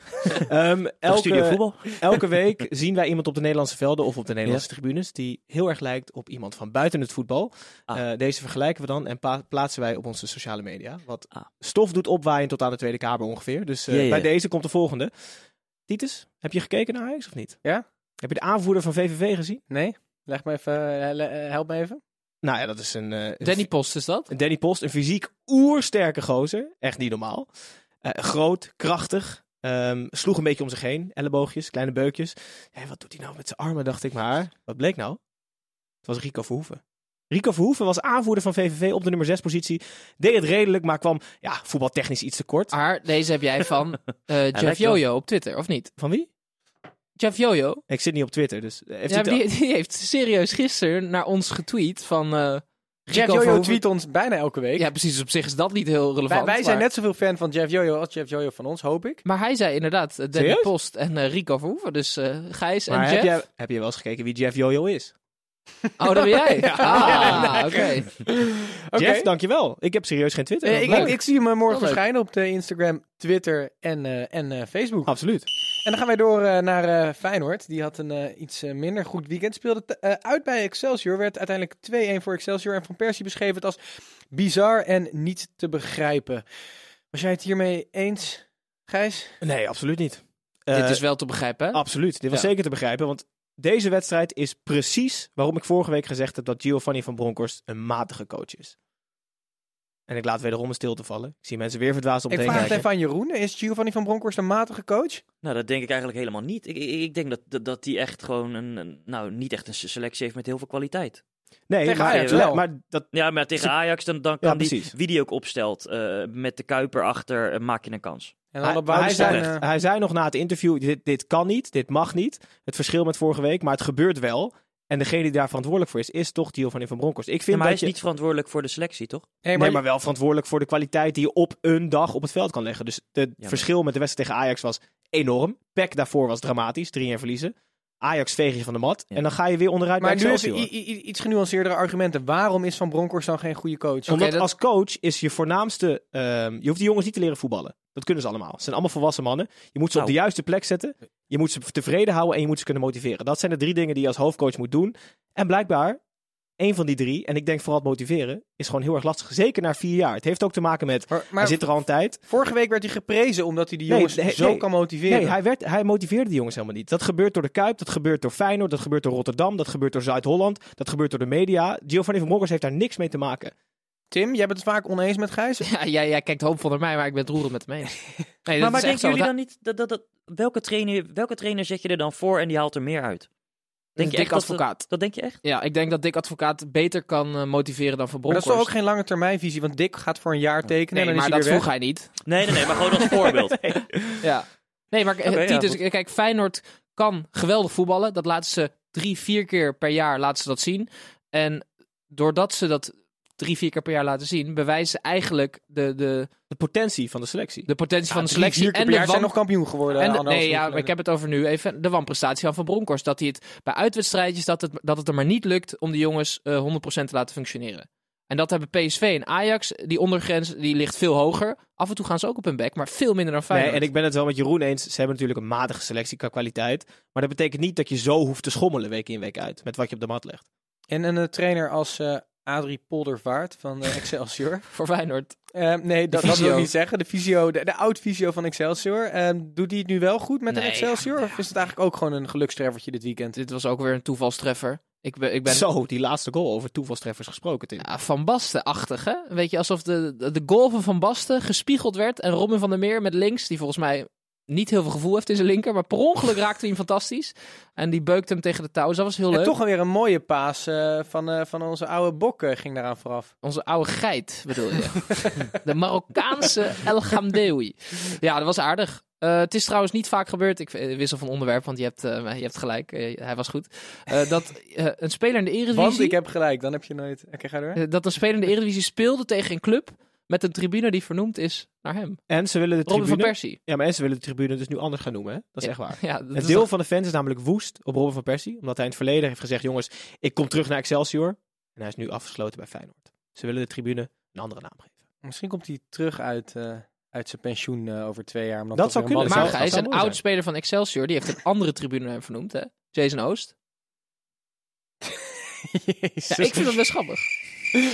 S3: Ehm,
S5: Studio
S3: elke,
S5: voetbal.
S3: elke week zien wij iemand op de Nederlandse velden of op de Nederlandse tribunes die heel erg lijkt op iemand van buiten het voetbal.
S5: Ah.
S3: Eh, deze vergelijken we dan en pa- plaatsen wij op onze sociale media. Wat
S5: Ah.
S3: stof doet opwaaien tot aan de Tweede Kamer ongeveer. Dus eh,
S5: Ja, ja.
S3: bij deze komt de volgende. Titus, heb je gekeken naar Ajax of niet?
S1: Ja.
S3: Heb je de aanvoerder van VVV gezien?
S1: Nee? Leg me even, eh, le- eh, help me even.
S3: Nou ja, dat is een... eh, een
S4: Danny Post is dat?
S3: Een Danny Post, een fysiek oersterke gozer. Echt niet normaal. Eh, groot, krachtig. ehm, sloeg een beetje om zich heen. Elleboogjes, kleine beukjes. Hé, wat doet hij nou met zijn armen, dacht ik maar. Wat bleek nou? Het was Rico Verhoeven. Rico Verhoeven was aanvoerder van VVV op de nummer 6 positie. Deed het redelijk, maar kwam ja, voetbaltechnisch iets te kort.
S4: Maar deze heb jij van eh Jeff
S5: lijkt wel.
S4: Jojo op Twitter, of niet?
S3: Van wie?
S4: Jeff Jojo?
S3: Ik zit niet op Twitter, dus... eh, Heeft
S4: ja,
S3: hij
S4: maar
S3: het-
S4: die, die heeft serieus gisteren naar ons getweet van... eh Rico
S1: Jeff Jojo
S4: Verhoeven.
S1: tweet ons bijna elke week.
S4: Ja, precies. dus op zich is dat niet heel relevant.
S1: wij, wij zijn
S4: maar...
S1: net zoveel fan van Jeff Jojo als Jeff Jojo van ons, hoop ik.
S4: Maar hij zei inderdaad eh, Danny
S3: Serieus?
S4: Post en eh, Rico Verhoeven. Dus eh, Gijs en
S3: Maar heb
S4: Jeff.
S3: jij, heb je wel eens gekeken wie Jeff Jojo is?
S4: Oh, dat ben jij? Ah, oké.
S1: Oké.
S3: Jeff, dankjewel. Ik heb serieus geen Twitter.
S1: Eh,
S3: Wat
S1: ik,
S3: leuk.
S1: ik, ik zie hem eh, morgen
S4: Wel leuk.
S1: verschijnen op de Instagram, Twitter en, eh, en eh, Facebook.
S3: Absoluut.
S1: En dan gaan wij door eh, naar eh, Feyenoord. Die had een eh, iets eh, minder goed weekend. Speelde t- eh, uit bij Excelsior. Werd uiteindelijk 2-1 voor Excelsior. En Van Persie beschreef het als bizar en niet te begrijpen. Was jij het hiermee eens, Gijs?
S3: Nee, absoluut niet.
S4: Dit
S3: Eh,
S4: is wel te begrijpen, hè?
S3: Absoluut, dit was
S4: Ja.
S3: zeker te begrijpen, want deze wedstrijd is precies waarom ik vorige week gezegd heb dat Giovanni van Bronckhorst een matige coach is. En ik laat wederom een stilte vallen. Ik zie mensen weer verdwaasd op
S1: Ik
S3: de
S1: vraag het even
S3: kijken.
S1: aan Jeroen. Is Giovanni van Bronckhorst een matige coach?
S5: Nou, dat denk ik eigenlijk helemaal niet. Ik, ik, ik denk dat, dat, dat die echt gewoon een, een- nou, niet echt een se- selectie heeft met heel veel kwaliteit.
S3: Nee,
S1: Tegen
S3: maar,
S1: Ajax
S3: maar,
S1: wel.
S3: maar dat,
S5: Ja, maar tegen Ajax, dan, dan
S3: Ja,
S5: kan die,
S3: precies.
S5: wie die ook opstelt, eh, met de Kuiper achter, eh, maak je een kans.
S1: En
S3: hij,
S1: dan op
S3: maar hij,
S1: Wouters
S3: zei,
S1: zijn, eh,
S3: hij zei nog na het interview, dit, dit kan niet, dit mag niet. Het verschil met vorige week, maar het gebeurt wel. En degene die daar verantwoordelijk voor is, is toch Giovanni van Bronckhorst. Ik
S5: Ja,
S3: vind
S5: maar hij
S3: dat
S5: is
S3: je...
S5: niet verantwoordelijk voor de selectie, toch?
S1: nee, maar
S3: Nee, maar wel verantwoordelijk voor de kwaliteit die je op een dag op het veld kan leggen. Dus het
S5: maar-
S3: verschil met de wedstrijd tegen Ajax was enorm. Pek daarvoor was dramatisch, 3-1 verliezen. Ajax veeg je van de mat
S5: Ja.
S3: en dan ga je weer onderuit
S1: Maar
S3: bij
S1: nu even
S3: Excelsior.
S1: i- i- i- iets genuanceerdere argumenten. Waarom is Van Bronckhorst dan geen goede coach?
S3: Omdat
S4: dat-
S3: als coach is je voornaamste... ehm, je hoeft die jongens niet te leren voetballen. Dat kunnen ze allemaal. Ze zijn allemaal volwassen mannen. Je moet ze op
S5: Nou.
S3: de juiste plek zetten. Je moet ze tevreden houden en je moet ze kunnen motiveren. Dat zijn de drie dingen die je als hoofdcoach moet doen. En blijkbaar, één van die drie, en ik denk vooral het motiveren, is gewoon heel erg lastig. Zeker na vier jaar. Het heeft ook te maken met...
S1: Maar, maar
S3: hij zit er al een tijd.
S1: vorige week werd hij geprezen omdat hij de
S3: Nee,
S1: jongens
S3: nee,
S1: zo
S3: nee.
S1: kan motiveren.
S3: Nee, hij, werd, hij motiveerde die jongens helemaal niet. Dat gebeurt door de Kuip, dat gebeurt door Feyenoord, dat gebeurt door Rotterdam, dat gebeurt door Zuid-Holland, dat gebeurt door de media. Giovanni van Bronckhorst heeft daar niks mee te maken.
S1: Tim, jij bent het vaak oneens met Gijs.
S4: Ja, jij, jij kijkt hoopvol naar mij, maar ik ben het roerend met hem eens. Nee, dat
S5: maar
S4: is
S5: maar
S4: echt
S5: denken
S4: zo.
S5: jullie
S4: want
S5: dan niet, dat, dat, dat, welke, trainer, welke trainer zet je er dan voor en die haalt er meer uit? Denk je
S4: Dick
S5: echt dat,
S4: Advocaat.
S5: dat denk je echt?
S4: Ja, ik denk dat Dick Advocaat beter kan eh, motiveren dan Van
S1: Maar dat
S4: Bronckhorst.
S1: is toch ook geen lange termijnvisie, want Dick gaat voor een jaar tekenen
S4: Nee,
S1: en dan
S4: maar
S1: is hij
S4: dat
S1: weer
S4: vroeg
S1: weg.
S4: hij niet.
S5: Nee, nee, nee, maar gewoon als voorbeeld.
S4: Ja. Nee, maar
S5: ja,
S4: eh, Titus,
S5: goed.
S4: kijk, Feyenoord kan geweldig voetballen. Dat laten ze drie, vier keer per jaar laten ze dat zien. En doordat ze dat drie, vier keer per jaar laten zien, bewijzen ze eigenlijk de, de,
S3: De potentie van de selectie.
S4: de potentie van de
S1: Drie,
S4: selectie
S1: vier keer
S4: en
S1: per jaar
S4: de,
S1: zijn
S4: wan-
S1: nog kampioen geworden.
S4: en de-
S1: anderhalf
S4: nee,
S1: jaar
S4: ja, maar
S1: geleden.
S4: ik heb het over nu even de wanprestatie van Van Bronckhorst. Dat hij het bij uitwedstrijdjes, dat het, dat het er maar niet lukt om de jongens eh, 100% te laten functioneren. En dat hebben PSV en Ajax, die ondergrens, die ligt veel hoger. Af en toe gaan ze ook op hun bek, maar veel minder dan
S3: Nee,
S4: Feyenoord.
S3: en ik ben het wel met Jeroen eens. Ze hebben natuurlijk een matige selectie qua kwaliteit. Maar dat betekent niet dat je zo hoeft te schommelen week in week uit. Met wat je op de mat legt.
S1: En een eh, trainer als eh Adrie Poldervaart van eh, Excelsior.
S4: Voor Feyenoord.
S1: Ehm, nee, dat, dat wil ik
S4: visio.
S1: niet zeggen. De, visio, de, de oud-visio van Excelsior. Ehm, doet hij het nu wel goed met een
S4: Nee,
S1: Excelsior?
S4: ja,
S1: Of is het eigenlijk ook gewoon een gelukstreffertje dit weekend?
S4: Dit was ook weer een toevalstreffer. Ik ben, ik ben
S3: Zo, die laatste goal over toevalstreffers gesproken, Tim.
S4: ja, Van Basten-achtig, hè? Weet je, alsof de, de, de goal van Van Basten gespiegeld werd. En Robin van der Meer met links, die volgens mij niet heel veel gevoel heeft in zijn linker. Maar per ongeluk raakte hij hem fantastisch. En die beukte hem tegen de touw. Dus dat was heel
S1: En
S4: leuk.
S1: toch weer een mooie paas eh, van, eh, van onze oude bok eh, ging daaraan vooraf.
S4: Onze oude geit, bedoel je? de Marokkaanse El Gamdewi. Ja, dat was aardig. Eh, het is trouwens niet vaak gebeurd. Ik eh, wissel van onderwerp, want je hebt, eh, je hebt gelijk. Eh, hij was goed. Eh, dat eh, een speler in de Eredivisie...
S1: Want ik heb gelijk, dan heb je nooit... Oké, ga door.
S4: eh, dat een speler in de Eredivisie speelde tegen een club... met een tribune die vernoemd is naar hem.
S3: En ze willen de
S4: Robin van
S3: tribune...
S4: Persie.
S3: Ja, maar en ze willen de tribune dus nu anders gaan noemen, hè? Dat is echt waar.
S4: Ja, dat
S3: Een
S4: is
S3: deel
S4: toch-
S3: van de fans is namelijk woest op Robin van Persie. Omdat hij in het verleden heeft gezegd, jongens, ik kom terug naar Excelsior. En hij is nu afgesloten bij Feyenoord. Ze willen de tribune een andere naam geven.
S1: Misschien komt hij terug uit, eh, uit zijn pensioen eh, over twee jaar. Omdat toch
S3: Dat zou
S1: weer een
S3: kunnen,
S4: Maar
S1: balletje-
S3: zou-
S4: hij is
S3: zou
S4: een
S3: mooi
S4: oud speler van Excelsior. Die heeft een andere tribune naar hem vernoemd, hè? Jason Oost. Ja, ik vind dat best grappig.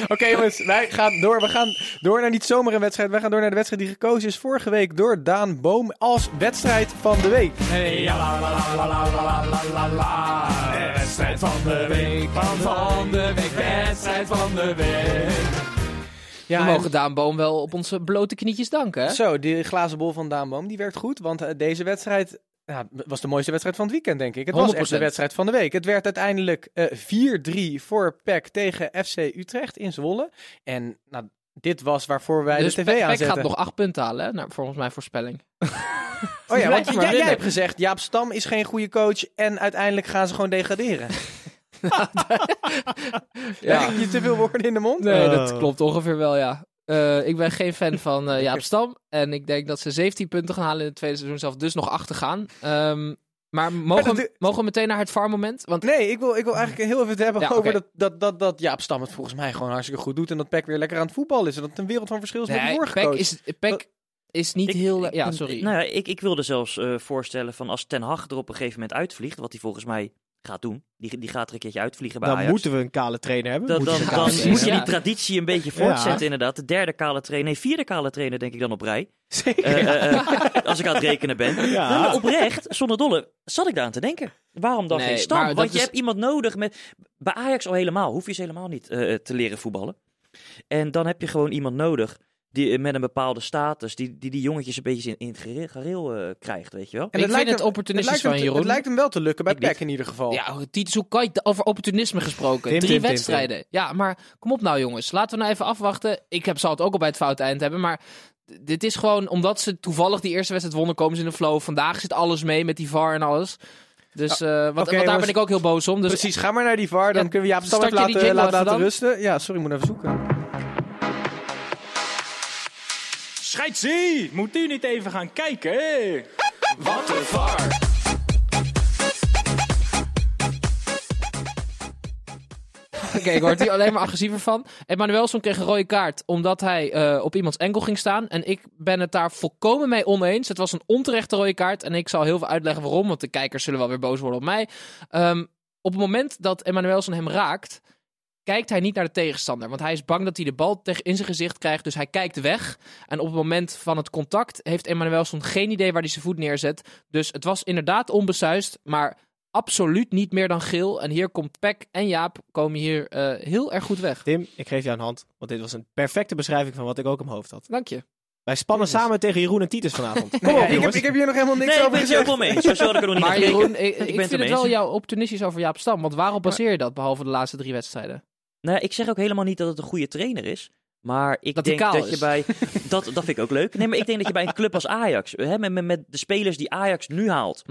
S1: Oké jongens, wij gaan door. We gaan door naar niet zomaar een wedstrijd. Wij gaan door naar de wedstrijd die gekozen is vorige week door Daan Boom als wedstrijd van de week.
S7: Wedstrijd van de week, van, van de week, wedstrijd van de week.
S1: Ja,
S4: We
S1: en-
S4: mogen Daan Boom wel op onze blote knietjes danken, hè?
S1: Zo, die glazen bol van Daan Boom, die werkt goed. Want eh, deze wedstrijd ja, was de mooiste wedstrijd van het weekend, denk ik. Het was echt de
S4: 100%.
S1: wedstrijd van de week. Het werd uiteindelijk eh 4-3 voor PEC tegen FC Utrecht in Zwolle. En nou, dit was waarvoor wij
S4: dus
S1: de tv
S4: Peck- Peck
S1: aanzetten.
S4: gaat nog acht punten halen, hè? Nou, volgens mijn voorspelling.
S1: oh ja, want
S4: Blijf maar
S1: jij, jij
S4: winnen.
S1: hebt gezegd, Jaap Stam is geen goede coach. En uiteindelijk gaan ze gewoon degraderen. Leg ik je te veel woorden in de mond?
S4: Nee, dat
S3: Oh.
S4: klopt ongeveer wel, ja. Eh, ik ben geen fan van eh, Jaap Stam. En ik denk dat ze 17 punten gaan halen in het tweede seizoen zelf. Dus nog achter gaan. Ehm, maar mogen,
S1: dat
S4: we,
S1: doe-
S4: mogen we meteen naar het VAR-moment? Want
S1: Nee, ik wil, ik wil eigenlijk heel even het hebben
S4: Ja,
S1: over
S4: oké.
S1: dat, dat, dat, dat Jaap Stam het volgens mij gewoon hartstikke goed doet. En dat PEC weer lekker aan het voetbal is. En dat het een wereld van verschil is met de
S4: nee,
S1: vorige
S4: Peck
S1: coach.
S4: is, Peck is niet
S5: Ik-
S4: heel...
S5: ik-
S4: ja, sorry.
S5: Nou ja, ik, ik wilde zelfs eh, voorstellen van als Ten Hag er op een gegeven moment uitvliegt, wat hij volgens mij gaat doen, die, die gaat er een keertje uitvliegen bij
S3: Dan
S5: Ajax.
S3: moeten we een kale trainer hebben.
S5: dan,
S3: Moet
S5: dan,
S3: je een
S5: dan
S3: kale
S4: precies,
S5: moet je
S3: trainer
S4: ja.
S5: die traditie een beetje
S3: Ja.
S5: voortzetten inderdaad. De derde kale trainer, nee vierde kale trainer denk ik dan op rij.
S3: hebben.
S5: Eh, eh, eh, als ik aan het rekenen ben.
S3: Ja.
S5: Nou, maar oprecht, zonder dolle, zat ik daar aan te denken. Waarom dan
S4: Nee,
S5: geen
S4: maar
S5: stam?
S4: dat
S5: Want je
S4: is-
S5: hebt iemand nodig met... Bij Ajax al helemaal, hoef je ze helemaal niet eh, te leren voetballen. En dan heb je gewoon iemand nodig die eh, met een bepaalde status, die die, die jongetjes een beetje in, in het gereel, gareel, eh, krijgt, weet je wel.
S4: Ik vind het
S1: lijkt
S4: opportunistisch
S1: hem
S4: van
S1: te-
S4: Jeroen.
S1: Het lijkt hem wel te lukken bij
S5: Ik niet.
S1: PEC in ieder geval.
S4: Ja, oh, Titus, hoe kan je het- over opportunisme gesproken?
S3: Tim,
S4: Drie
S3: Tim, Tim,
S4: wedstrijden. Ja, maar kom op nou jongens. Laten we nou even afwachten. Ik heb, zal het ook al bij het foute eind hebben, maar... d- Dit is gewoon omdat ze toevallig die eerste wedstrijd wonnen, komen ze in de flow. Vandaag zit alles mee met die VAR en alles. Dus eh, wat, want daar
S1: jongens.
S4: ben ik ook heel boos om. Dus
S1: Precies, ga maar naar die VAR. Dan
S4: Ja,
S1: kunnen we Jaap Stam
S4: start
S1: even
S4: je die
S1: laten,
S4: jingle
S1: laten,
S4: even
S1: laten
S4: dan?
S1: rusten. Ja, sorry, moet even zoeken.
S7: Scheidsie, moet u niet even gaan kijken? hé? Wat een var.
S4: Oké, ik word hier alleen maar agressiever van. Emmanuelson kreeg een rode kaart omdat hij eh, op iemands enkel ging staan. En ik ben het daar volkomen mee oneens. Het was een onterechte rode kaart. En ik zal heel veel uitleggen waarom, want de kijkers zullen wel weer boos worden op mij. Ehm, op het moment dat Emmanuelson hem raakt, kijkt hij niet naar de tegenstander. Want hij is bang dat hij de bal tegen in zijn gezicht krijgt. Dus hij kijkt weg. En op het moment van het contact heeft Emmanuelson geen idee waar hij zijn voet neerzet. Dus het was inderdaad onbesuist. Maar absoluut niet meer dan geel. En hier komt Peck en Jaap komen hier eh, heel erg goed weg.
S3: Tim, ik geef jou een hand. Want dit was een perfecte beschrijving van wat ik ook in mijn hoofd had.
S4: Dank je.
S3: Wij spannen samen tegen Jeroen en Titus vanavond.
S1: Kom op, ik, heb, ik heb hier nog helemaal niks
S5: Nee, ik
S1: over
S5: ben het je ook
S1: gezegd.
S5: wel mee. Zo had ik er nog niet
S4: Maar
S5: naar gekeken.
S4: Jeroen, ik, ik
S5: ben
S4: vind
S5: het
S4: het
S5: ermee
S4: wel
S5: eens.
S4: jou optunistisch over Jaap Stam. Want waarop baseer je dat, behalve de laatste drie wedstrijden?
S5: Nou, ja, ik zeg ook helemaal niet dat het een goede trainer is. Maar ik
S4: Dat hij
S5: denk
S4: kaal
S5: dat
S4: is.
S5: je bij. Dat, dat vind ik ook leuk. Nee, maar ik denk dat je bij een club als Ajax. Hè, met, met, met de spelers die Ajax nu haalt.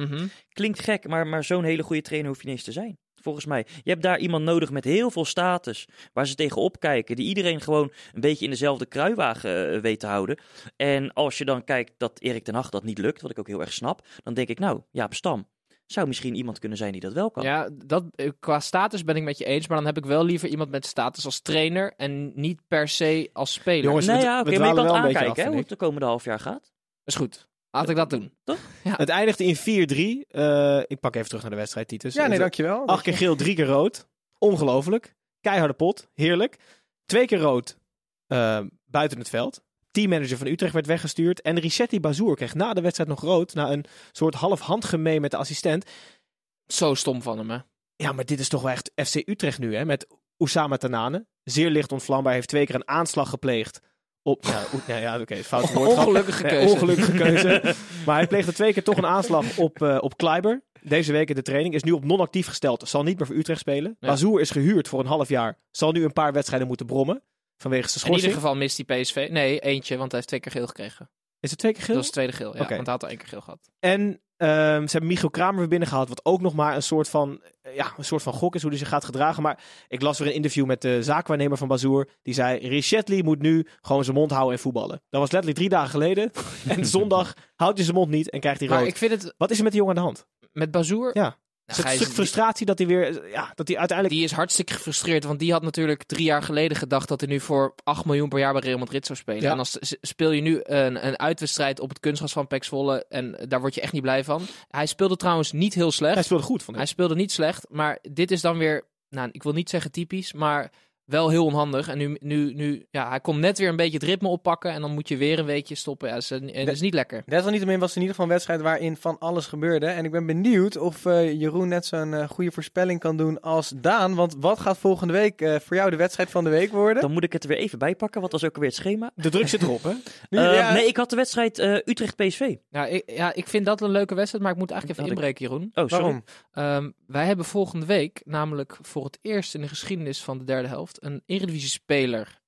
S5: Klinkt gek, maar, maar zo'n hele goede trainer hoef je niet eens te zijn. Volgens mij. Je hebt daar iemand nodig met heel veel status. Waar ze tegen opkijken. Die iedereen gewoon een beetje in dezelfde kruiwagen eh, weet te houden. En als je dan kijkt dat Erik ten Hag dat niet lukt. Wat ik ook heel erg snap. Dan denk ik, nou, Jaap Stam. Zou misschien iemand kunnen zijn die dat wel kan.
S4: Ja, dat, eh, qua status ben ik met je eens. Maar dan heb ik wel liever iemand met status als trainer. En niet per se als speler.
S3: Jongens,
S5: nee,
S3: we-
S5: Nou ja,
S3: we
S5: oké, maar je
S3: dwalen
S5: kan het
S3: wel een beetje
S5: aankijken
S3: af,
S5: hè,
S3: vind
S5: hoe
S3: ik.
S5: het de komende half jaar gaat.
S4: is goed. Laat ik dat doen.
S3: Het eindigde in 4-3. Eh, ik pak even terug naar de wedstrijd, Titus.
S1: Ja, nee,
S3: Het-
S1: dankjewel.
S3: Acht keer geel, drie keer rood. Ongelooflijk. Keiharde pot. Heerlijk. Twee keer rood eh, buiten het veld. Teammanager van Utrecht werd weggestuurd. En Richetti Bazour kreeg na de wedstrijd nog rood. Na een soort half handgemeen met de assistent.
S4: Zo stom van hem, hè?
S3: Ja, maar dit is toch wel echt FC Utrecht nu, hè? Met Oussama Tanane. Zeer licht ontvlambaar. Heeft twee keer een aanslag gepleegd. Op, nou, oe- nou ja, oké, fout woord.
S4: Ongelukkige
S3: Nee,
S4: keuze.
S3: ongelukkige keuze. Eh, maar hij pleegde twee keer toch een aanslag op, eh op Kleiber. Deze week in de training. Is nu op non-actief gesteld. Zal niet meer voor Utrecht spelen.
S4: Ja.
S3: Bazoer is gehuurd voor een half jaar. Zal nu een paar wedstrijden moeten brommen. Vanwege zijn
S4: In ieder
S3: schorsing.
S4: geval mist hij PSV. Nee, eentje, want hij heeft twee keer geel gekregen.
S3: Is het twee keer geel?
S4: Dat is het tweede geel, ja.
S3: Oké.
S4: Want hij had al één keer geel gehad.
S3: En ehm, ze hebben Michiel Kramer weer binnengehaald. Wat ook nog maar een soort van, eh, ja, een soort van gok is hoe hij zich gaat gedragen. Maar ik las weer een interview met de zaakwaarnemer van Bazoer. Die zei, Richetli moet nu gewoon zijn mond houden en voetballen. Dat was letterlijk drie dagen geleden. en zondag houdt hij zijn mond niet en krijgt hij
S4: Maar
S3: rood.
S4: ik vind het
S3: Wat is er met die jongen aan de hand?
S4: met Bazoer...
S3: Ja.
S4: Nou,
S3: Is het een
S4: Gijs,
S3: stuk
S4: die-
S3: frustratie dat hij weer, eh, ja, dat hij uiteindelijk...
S4: Die is hartstikke gefrustreerd, want die had natuurlijk drie jaar geleden gedacht dat hij nu voor 8 miljoen per jaar bij Real Madrid zou spelen.
S3: Ja.
S4: En dan s- s- speel je nu een, een uitwedstrijd op het kunstgras van Pek Zwolle en daar word je echt niet blij van. Hij speelde trouwens niet heel slecht.
S3: Hij speelde goed, vond ik.
S4: Hij speelde niet slecht, maar dit is dan weer, nou, ik wil niet zeggen typisch, maar wel heel onhandig. En nu, nu, nu ja, hij komt net weer een beetje het ritme oppakken en dan moet je weer een weekje stoppen. Ja, dat is, eh, dat is niet lekker.
S1: Desalniettemin was het in ieder geval een wedstrijd waarin van alles gebeurde. En ik ben benieuwd of eh, Jeroen net zo'n eh, goede voorspelling kan doen als Daan. Want wat gaat volgende week eh, voor jou de wedstrijd van de week worden?
S5: Dan moet ik het er weer even bij pakken. Wat was ook alweer het schema?
S3: De druk zit erop, hè?
S1: Nu-
S5: Eh,
S1: ja,
S5: Nee, ik had de wedstrijd eh, Utrecht-PSV.
S4: Ja ik, ja, ik vind dat een leuke wedstrijd, maar ik moet eigenlijk even
S5: Dat ik-
S4: inbreken, Jeroen.
S5: Oh, sorry.
S1: waarom?
S4: Ehm, wij hebben volgende week namelijk voor het eerst in de geschiedenis van de derde helft een Eredivisie-speler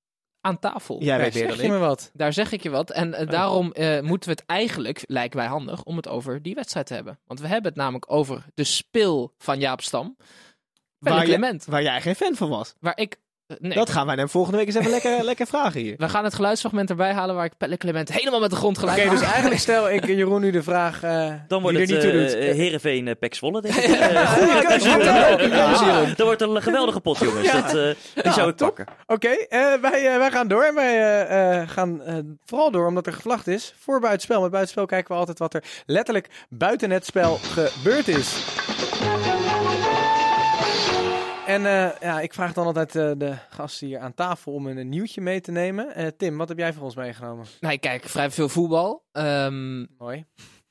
S4: aan tafel.
S3: Jij weet weer
S1: Zeg
S3: dan
S1: je
S3: ik.
S1: me wat?
S4: Daar zeg ik je wat. En eh, daarom eh, moeten we het eigenlijk, lijkt mij handig, om het over die wedstrijd te hebben. Want we hebben het namelijk over de spil van Jaap Stam. Waar
S3: Waar, jij-
S4: Clement.
S3: waar jij geen fan van was.
S4: Waar ik... eh, nee,
S3: Dat gaan wij hem volgende week eens even lekker, lekker vragen hier.
S4: we gaan het geluidsfragment erbij halen waar ik Pelle Clement helemaal met de grond gelijk
S1: Oké, dus
S4: maak.
S1: eigenlijk stel ik Jeroen nu de vraag eh
S5: Dan wordt
S1: die
S5: het
S1: er niet toe
S5: eh,
S1: doet.
S5: eh, Heerenveen eh, Pek Zwolle, denk ik. Eh,
S1: Goeie keuze, Jeroen. Leuke keuze, Jeroen.
S5: dat wordt een geweldige pot, jongens. Dat, eh, die zou ik
S1: top.
S5: pakken.
S1: Oké, eh, wij, eh, wij gaan door. En wij eh, eh, gaan eh, vooral door omdat er gevlacht is voor buitenspel. Met buitenspel kijken we altijd wat er letterlijk buiten het spel gebeurd is. En eh, ja, ik vraag dan altijd eh, de gasten hier aan tafel om een nieuwtje mee te nemen. Eh, Tim, wat heb jij voor ons meegenomen?
S4: Nou, ik kijk vrij veel voetbal. Ehm,
S1: Mooi.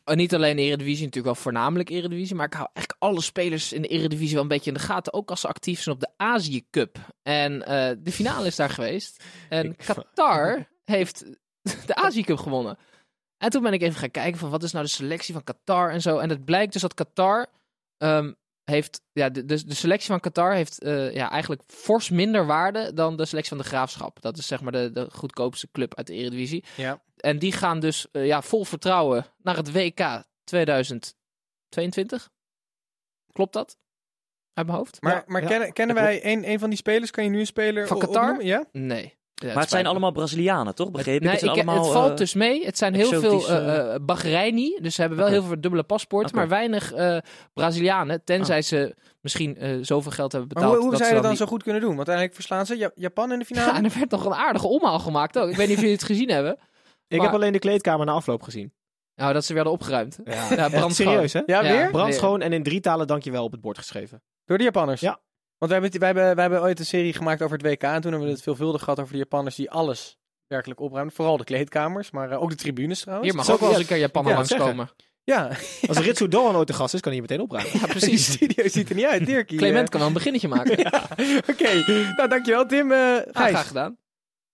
S4: Eh, niet alleen de Eredivisie, natuurlijk wel voornamelijk Eredivisie. Maar ik hou eigenlijk alle spelers in de Eredivisie wel een beetje in de gaten. Ook als ze actief zijn op de Azië Cup. En eh, de finale is daar geweest. En Qatar heeft de Azië Cup gewonnen. En toen ben ik even gaan kijken van wat is nou de selectie van Qatar en zo. En het blijkt dus dat Qatar ehm, heeft... Ja, de, de, de selectie van Qatar heeft eh, ja, eigenlijk fors minder waarde dan de selectie van de Graafschap. Dat is zeg maar de, de goedkoopste club uit de Eredivisie.
S1: Ja.
S4: En die gaan dus eh, ja, vol vertrouwen naar het WK 2022. Klopt dat? Uit mijn hoofd?
S1: Maar,
S3: Ja,
S1: maar
S3: ja,
S1: kennen, kennen
S3: dat
S1: wij een, een van die spelers? Kan je nu een speler
S4: Van
S1: o-
S4: Qatar?
S1: opnoemen? Ja?
S4: Nee. Ja,
S5: Maar het
S4: spijt
S5: zijn
S4: me.
S5: allemaal Brazilianen, toch? Begreep
S4: Nee,
S5: ik? Het,
S4: ik-
S5: zijn allemaal,
S4: het valt
S5: eh,
S4: dus mee. Het zijn heel veel
S5: exotische-
S4: eh eh, Bahreini. Dus ze hebben wel
S5: Oké.
S4: heel veel dubbele paspoorten.
S5: Oké. Ah.
S4: Maar weinig eh, Brazilianen. Tenzij ze misschien eh, zoveel geld hebben
S1: Maar
S4: betaald.
S1: hoe, hoe
S4: dat
S1: zou je dat dan
S4: niet-
S1: zo goed kunnen doen? Want eigenlijk verslaan ze Ja- Japan in de finale.
S4: Ja, en er werd nog een aardige omhaal gemaakt ook. Ik weet niet of jullie het gezien hebben.
S3: Ik
S4: Maar-
S3: heb alleen de kleedkamer na afloop gezien.
S4: Nou, dat ze werden opgeruimd.
S5: Oh,
S3: Ja,
S4: Ja,
S3: Echt
S4: brandschoon.
S3: serieus, hè?
S1: Ja, weer?
S3: Brandschoon en in drie talen dankjewel op het bord geschreven.
S1: Door de Japanners?
S3: Ja.
S1: Want wij hebben, wij, hebben, wij hebben ooit een serie gemaakt over het WK. En toen hebben we het veelvuldig gehad over de Japanners die alles werkelijk opruimen. Vooral de kleedkamers, maar eh, ook de tribunes trouwens.
S4: Hier mag
S3: Zo-
S4: ook wel eens een keer Japaner
S3: Ja,
S4: langskomen.
S1: Ja,
S3: Als Ritsu Doan ooit de gast is, kan hij meteen opruimen.
S4: Ja,
S1: die
S4: precies.
S1: studio ziet er niet uit. Dirkie.
S4: Clement kan wel een beginnetje maken.
S1: eh, Oké, nou dankjewel Tim. eh Gijs,
S4: graag gedaan.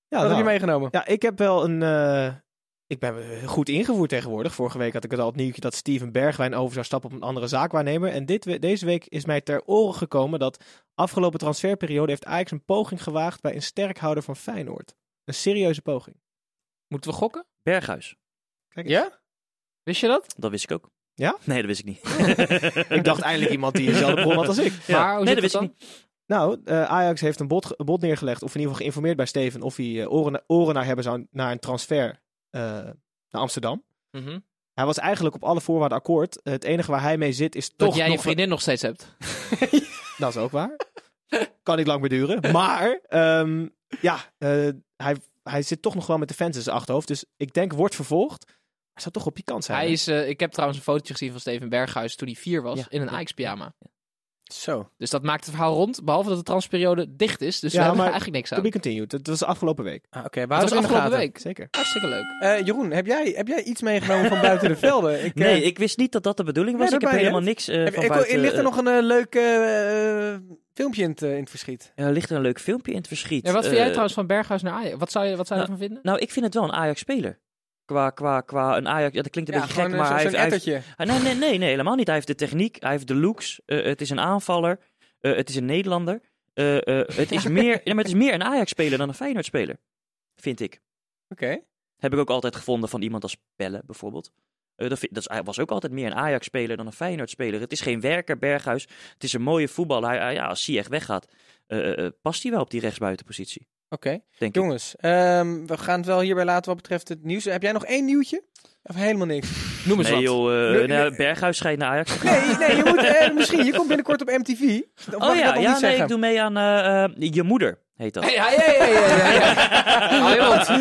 S3: Ja,
S1: wat heb
S3: nou.
S1: je meegenomen?
S3: ja, ik heb wel een... eh, Ik ben eh, goed ingevoerd tegenwoordig. Vorige week had ik het al het nieuwtje dat Steven Bergwijn over zou stappen op een andere zaakwaarnemer. En dit, we- deze week is mij ter oren gekomen dat afgelopen transferperiode heeft Ajax een poging gewaagd bij een sterkhouder van Feyenoord. Een serieuze poging.
S4: Moeten we gokken?
S5: Berghuis.
S3: Kijk ja?
S4: Wist je dat?
S5: Dat wist ik ook.
S3: Ja?
S5: Nee, dat wist ik niet.
S3: Ik dacht eindelijk iemand die dezelfde bron had als ik.
S5: Ja.
S4: Maar hoe
S5: nee,
S4: zit
S5: dat wist
S4: het
S5: ik
S4: dan?
S5: niet.
S3: Nou, eh, Ajax heeft een bod, een bod neergelegd, of in ieder geval geïnformeerd bij Steven, of hij eh, oren, na- oren naar hebben zou naar een transfer eh, naar Amsterdam.
S4: Mhm.
S3: Hij was eigenlijk op alle voorwaarden akkoord. Het enige waar hij mee zit is
S4: Dat
S3: toch
S4: jij
S3: nog...
S4: je vriendin nog steeds hebt.
S3: Dat is ook waar. kan niet lang meer duren. Maar, ehm, ja, eh, hij, hij zit toch nog wel met de fans in zijn achterhoofd. Dus ik denk, wordt vervolgd. Hij zou toch op je kant zijn.
S4: Hij
S3: hè?
S4: is, eh, ik heb trouwens een fotootje gezien van Steven Berghuis toen hij vier was,
S5: Ja,
S4: in een
S5: ja,
S4: Ajax-pyjama.
S3: Zo.
S4: Dus dat maakt het verhaal rond, behalve dat de transperiode dicht is. Dus we
S3: Ja,
S4: hebben
S3: maar-
S4: er eigenlijk niks
S3: To
S4: aan.
S3: be continued. Dat was de afgelopen week.
S1: Ah, Oké, we
S4: Dat
S1: houden
S4: was
S1: het in de
S4: afgelopen
S1: gaten.
S4: week.
S3: Zeker.
S4: Hartstikke leuk.
S1: Eh, Jeroen, heb jij, heb jij iets meegenomen van buiten de velden? Ik, eh,
S5: Nee, ik wist niet dat dat de bedoeling was.
S1: Ja,
S5: ik heb
S1: daarbij, hè?
S5: helemaal niks eh,
S1: heb-
S5: van
S1: ik-
S5: buiten...
S1: er ligt er
S5: eh,
S1: nog een eh, leuk eh, eh, filmpje in het, eh, in het verschiet.
S5: ja, ligt er een leuk filmpje in het verschiet.
S4: Ja, wat vind jij
S5: Eh,
S4: trouwens van Berghuis naar Ajax? Wat zou je, wat zou je ervan vinden?
S5: Nou, ik vind het wel een Ajax-speler. Qua, qua, qua een Ajax... Ja, dat klinkt een beetje gek,
S1: gewoon, eh,
S5: maar
S1: zo-
S5: hij heeft...
S1: zo'n
S5: hij heeft-
S1: ettertje.
S5: Ah, nee, nee, nee, nee, helemaal niet. Hij heeft de techniek, hij heeft de looks. eh, het is een aanvaller. eh, het is een Nederlander. eh, eh, het, is meer, ja, maar het is meer een Ajax-speler dan een Feyenoord-speler. Vind ik.
S1: Oké.
S5: Heb ik ook altijd gevonden van iemand als Pelle bijvoorbeeld. Eh, dat, vind- dat is- hij was ook altijd meer een Ajax-speler dan een Feyenoord-speler. Het is geen werker, Berghuis. Het is een mooie voetballer. Hij, hij- ja, als hij echt weggaat, eh, eh, past hij wel op die rechtsbuitenpositie.
S1: Oké,
S5: Denk ik.
S1: jongens, ehm, we gaan het wel hierbij laten wat betreft het nieuws. Heb jij nog één nieuwtje? Of helemaal niks?
S4: Noem eens
S5: Nee
S4: wat.
S5: joh, eh,
S1: Nee,
S5: nou, Berghuis schijnt naar Ajax. te gaan.
S1: Nee, nee je moet, eh, misschien, je komt binnenkort op MTV. Of mag
S5: Oh
S1: ik dat nog
S5: ja, ja
S1: niet
S5: nee,
S1: zeggen?
S5: ik doe mee aan eh, eh, Je Moeder, heet dat.
S4: Hey, hey, hey, hey, hey, hey, hey. Hou je mond.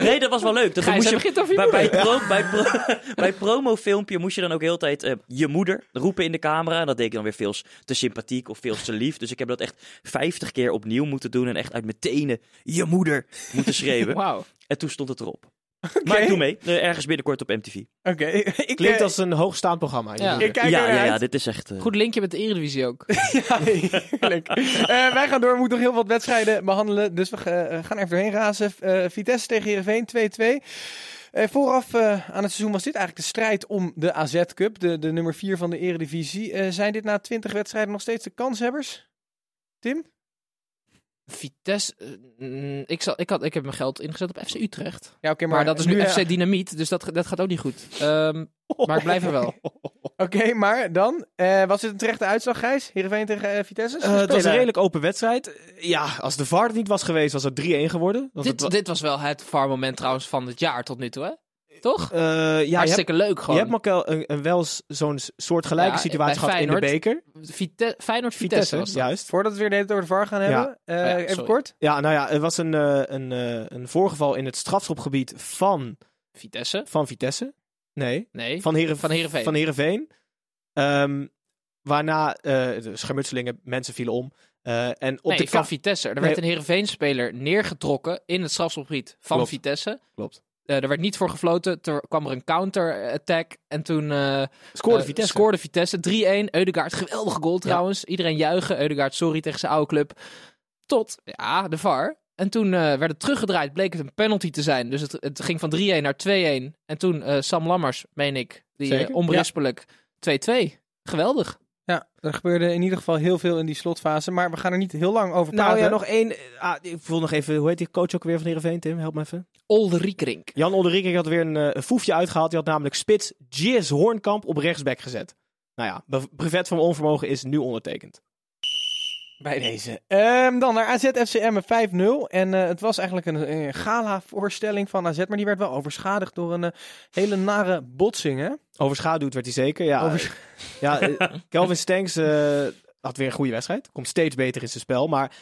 S5: Nee, dat was wel leuk. Dat
S4: Gijs,
S5: moest
S4: hij
S5: je,
S4: begint over je
S5: bij, bij, pro, bij, pro, bij promofilmpje moest je dan ook heel de tijd eh, je moeder roepen in de camera. En dat deed ik dan weer veel te sympathiek of veel te lief. Dus ik heb dat echt 50 keer opnieuw moeten doen. En echt uit mijn tenen je moeder moeten schreeuwen.
S4: Wauw.
S5: En toen stond het erop. Maar ik doe mee. Eh, ergens binnenkort op MTV.
S1: Oké, ik,
S3: Klinkt
S1: eh,
S3: als een hoogstaand programma.
S4: Ja.
S3: Ja.
S1: ik kijk
S5: ja, ja,
S1: ernaar
S5: ja,
S1: uit.
S5: dit is echt... eh,
S4: Goed linkje met de Eredivisie ook.
S1: Ja, heerlijk. Eh, wij gaan door. We moeten nog heel wat wedstrijden behandelen. Dus we eh, gaan er even doorheen razen. Eh, Vitesse tegen Heerenveen 2-2. Eh, vooraf eh, aan het seizoen was dit eigenlijk de strijd om de AZ Cup. De, de nummer 4 van de Eredivisie. Eh, zijn dit na 20 wedstrijden nog steeds de kanshebbers? Tim?
S4: Vitesse, eh, mm, ik, zal, ik, had, ik heb mijn geld ingezet op FC Utrecht.
S1: Ja, oké,
S4: Maar, dat is nu
S1: eh,
S4: FC Dynamiet, dus dat, dat gaat ook niet goed. Ehm, Maar ik blijf er wel.
S1: Oké, maar dan. eh, was dit een terechte uitslag, Gijs? Heerenveen tegen eh, Vitesse? Ze
S3: Eh, het was
S1: spelen.
S3: een redelijk open wedstrijd. Eh, Ja, als de VAR er niet was geweest, was het 3-1 geworden. Want het
S4: dit,
S3: wa-
S4: dit was wel het VAR-moment trouwens van het jaar tot nu toe, hè? Toch?
S3: Eh, ja, je hebt-
S4: Hartstikke leuk
S3: Je
S4: gewoon.
S3: hebt ook wel een, een wel s- zo'n s- soortgelijke
S4: Ja,
S3: situatie
S4: bij
S3: gehad in de
S4: Feyenoord.
S3: beker.
S4: Vite- Feyenoord-Vitesse
S3: Vitesse,
S4: was dat.
S3: juist.
S1: Voordat we het weer de hele tijd over de VAR gaan hebben. eh,
S4: ja,
S1: even
S4: sorry.
S1: kort.
S3: Ja, nou ja, er was een, eh, een, eh, een voorgeval in het strafschopgebied van,
S4: Vitesse?
S3: van Vitesse. Nee,
S4: Nee.
S3: van, Heeren,
S4: Van Heerenveen.
S3: Van Heerenveen. Ehm, waarna eh de schermutselingen, mensen vielen om. Eh, en op
S4: nee,
S3: de
S4: van
S3: ka-
S4: Vitesse. Er
S3: Nee.
S4: werd een Heerenveen-speler neergetrokken in het strafschopgebied van
S3: Klopt.
S4: Vitesse.
S3: Klopt.
S4: Eh, er werd niet voor gefloten. Toen kwam er een counter-attack. En toen eh,
S3: scoorde
S4: eh,
S3: Vitesse.
S4: scoorde Vitesse. 3-1. Eudegaard, geweldige goal trouwens. Iedereen juichen. Eudegaard, sorry tegen zijn oude club. Tot, ja, de VAR. En toen eh, werd het teruggedraaid. Bleek het een penalty te zijn. Dus het, het ging van 3-1 naar 2-1. En toen eh, Sam Lammers, meen ik, die eh,
S3: Zeker,
S4: onberispelijk 2-2. Geweldig.
S1: Ja, er gebeurde in ieder geval heel veel in die slotfase, maar we gaan er niet heel lang over praten.
S3: Nou ja, nog één. eh, ah, ik voel nog even, hoe heet die coach ook weer van Heerenveen, Tim? Help me even.
S4: Olderiekrink.
S3: Jan Olderink had weer een, eh, een foefje uitgehaald. Die had namelijk spits Jis Hoornkamp op rechtsback gezet. Nou ja, bev- brevet van onvermogen is nu ondertekend.
S1: bij deze. Ehm, dan naar AZ FCM 5-0 en eh, het was eigenlijk een, eh, gala-voorstelling van AZ, maar die werd wel overschadigd door een eh, hele nare botsing, hè?
S3: Overschaduwd werd hij zeker. Ja,
S1: Overs-
S3: ja eh, Kelvin Stenks eh, had weer een goede wedstrijd. Komt steeds beter in zijn spel. Maar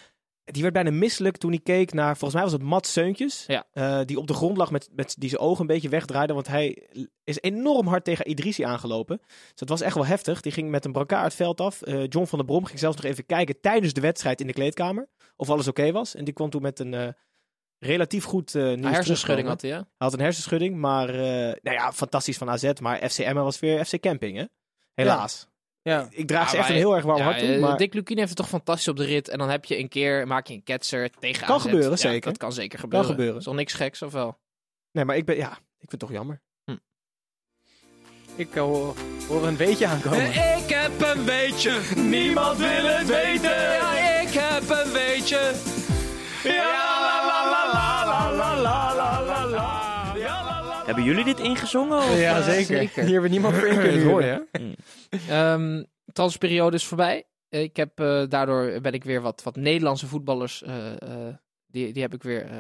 S3: die werd bijna misselijk toen hij keek naar, volgens mij was het Matt Seuntjes.
S4: Ja.
S3: eh, die op de grond lag, met, met, die zijn ogen een beetje wegdraaide. Want hij is enorm hard tegen Idrisi aangelopen. Dus dat was echt wel heftig. Die ging met een brancard het veld af. Eh, John van der Brom ging zelfs nog even kijken tijdens de wedstrijd in de kleedkamer. Of alles oké was. En die kwam toen met een eh, relatief goed eh nieuws
S4: Een hersenschudding
S3: terugkomen.
S4: had hij, ja.
S3: Hij had een hersenschudding, maar eh, nou ja, fantastisch van AZ. Maar FC Emmen was weer FC Camping, hè? Helaas.
S1: Ja.
S3: Ik draag
S4: Ja,
S3: Ah, ze echt
S4: maar-
S3: een heel erg warm hart
S4: Ja,
S3: toe.
S4: eh,
S3: Maar
S4: Dick Lukien heeft het toch fantastisch op de rit. En dan heb je een keer, maak je een ketser tegen
S3: Kan
S4: AZ.
S3: gebeuren,
S4: Ja,
S3: zeker.
S4: Dat kan zeker gebeuren.
S3: gebeuren.
S4: Is nog niks geks, of wel?
S3: Nee, maar ik ben, ja, ik vind het toch jammer.
S1: Ik eh, hoor, hoor een beetje aankomen.
S4: Ik heb een beetje.
S7: Niemand wil het weten.
S4: Ja, ik heb een beetje.
S7: Ja, la la la la la la la la la la. Ja, la, la, la.
S5: Hebben jullie dit ingezongen? Of?
S1: Ja, zeker.
S4: zeker.
S1: Hier hebben niemand voor in kunnen horen. hè?
S4: Mm. Ehm transferperiode is voorbij. Ik heb, eh, daardoor ben ik weer wat, wat Nederlandse voetballers. eh, eh, die, die heb ik weer eh,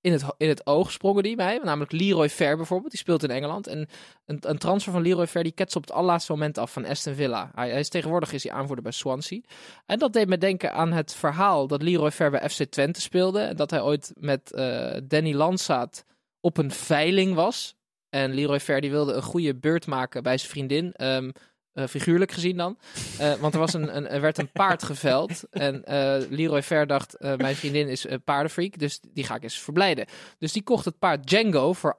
S4: in, het, ho- in het oog sprongen die mij. Namelijk Leroy Fer bijvoorbeeld. Die speelt in Engeland. En een, een transfer van Leroy Fer die ketst op het allerlaatste moment af van Aston Villa. Hij, hij is tegenwoordig is hij aanvoerder bij Swansea. En dat deed me denken aan het verhaal dat Leroy Fer bij FC Twente speelde. En dat hij ooit met eh, Danny Landsaat op een veiling was. En Leroy Fer die wilde een goede beurt maken bij zijn vriendin. ehm, eh, figuurlijk gezien dan. Eh, want er, was een, een, er werd een paard geveld. En eh, Leroy Ver dacht, eh, mijn vriendin is een paardenfreak, dus die ga ik eens verblijden. Dus die kocht het paard Django voor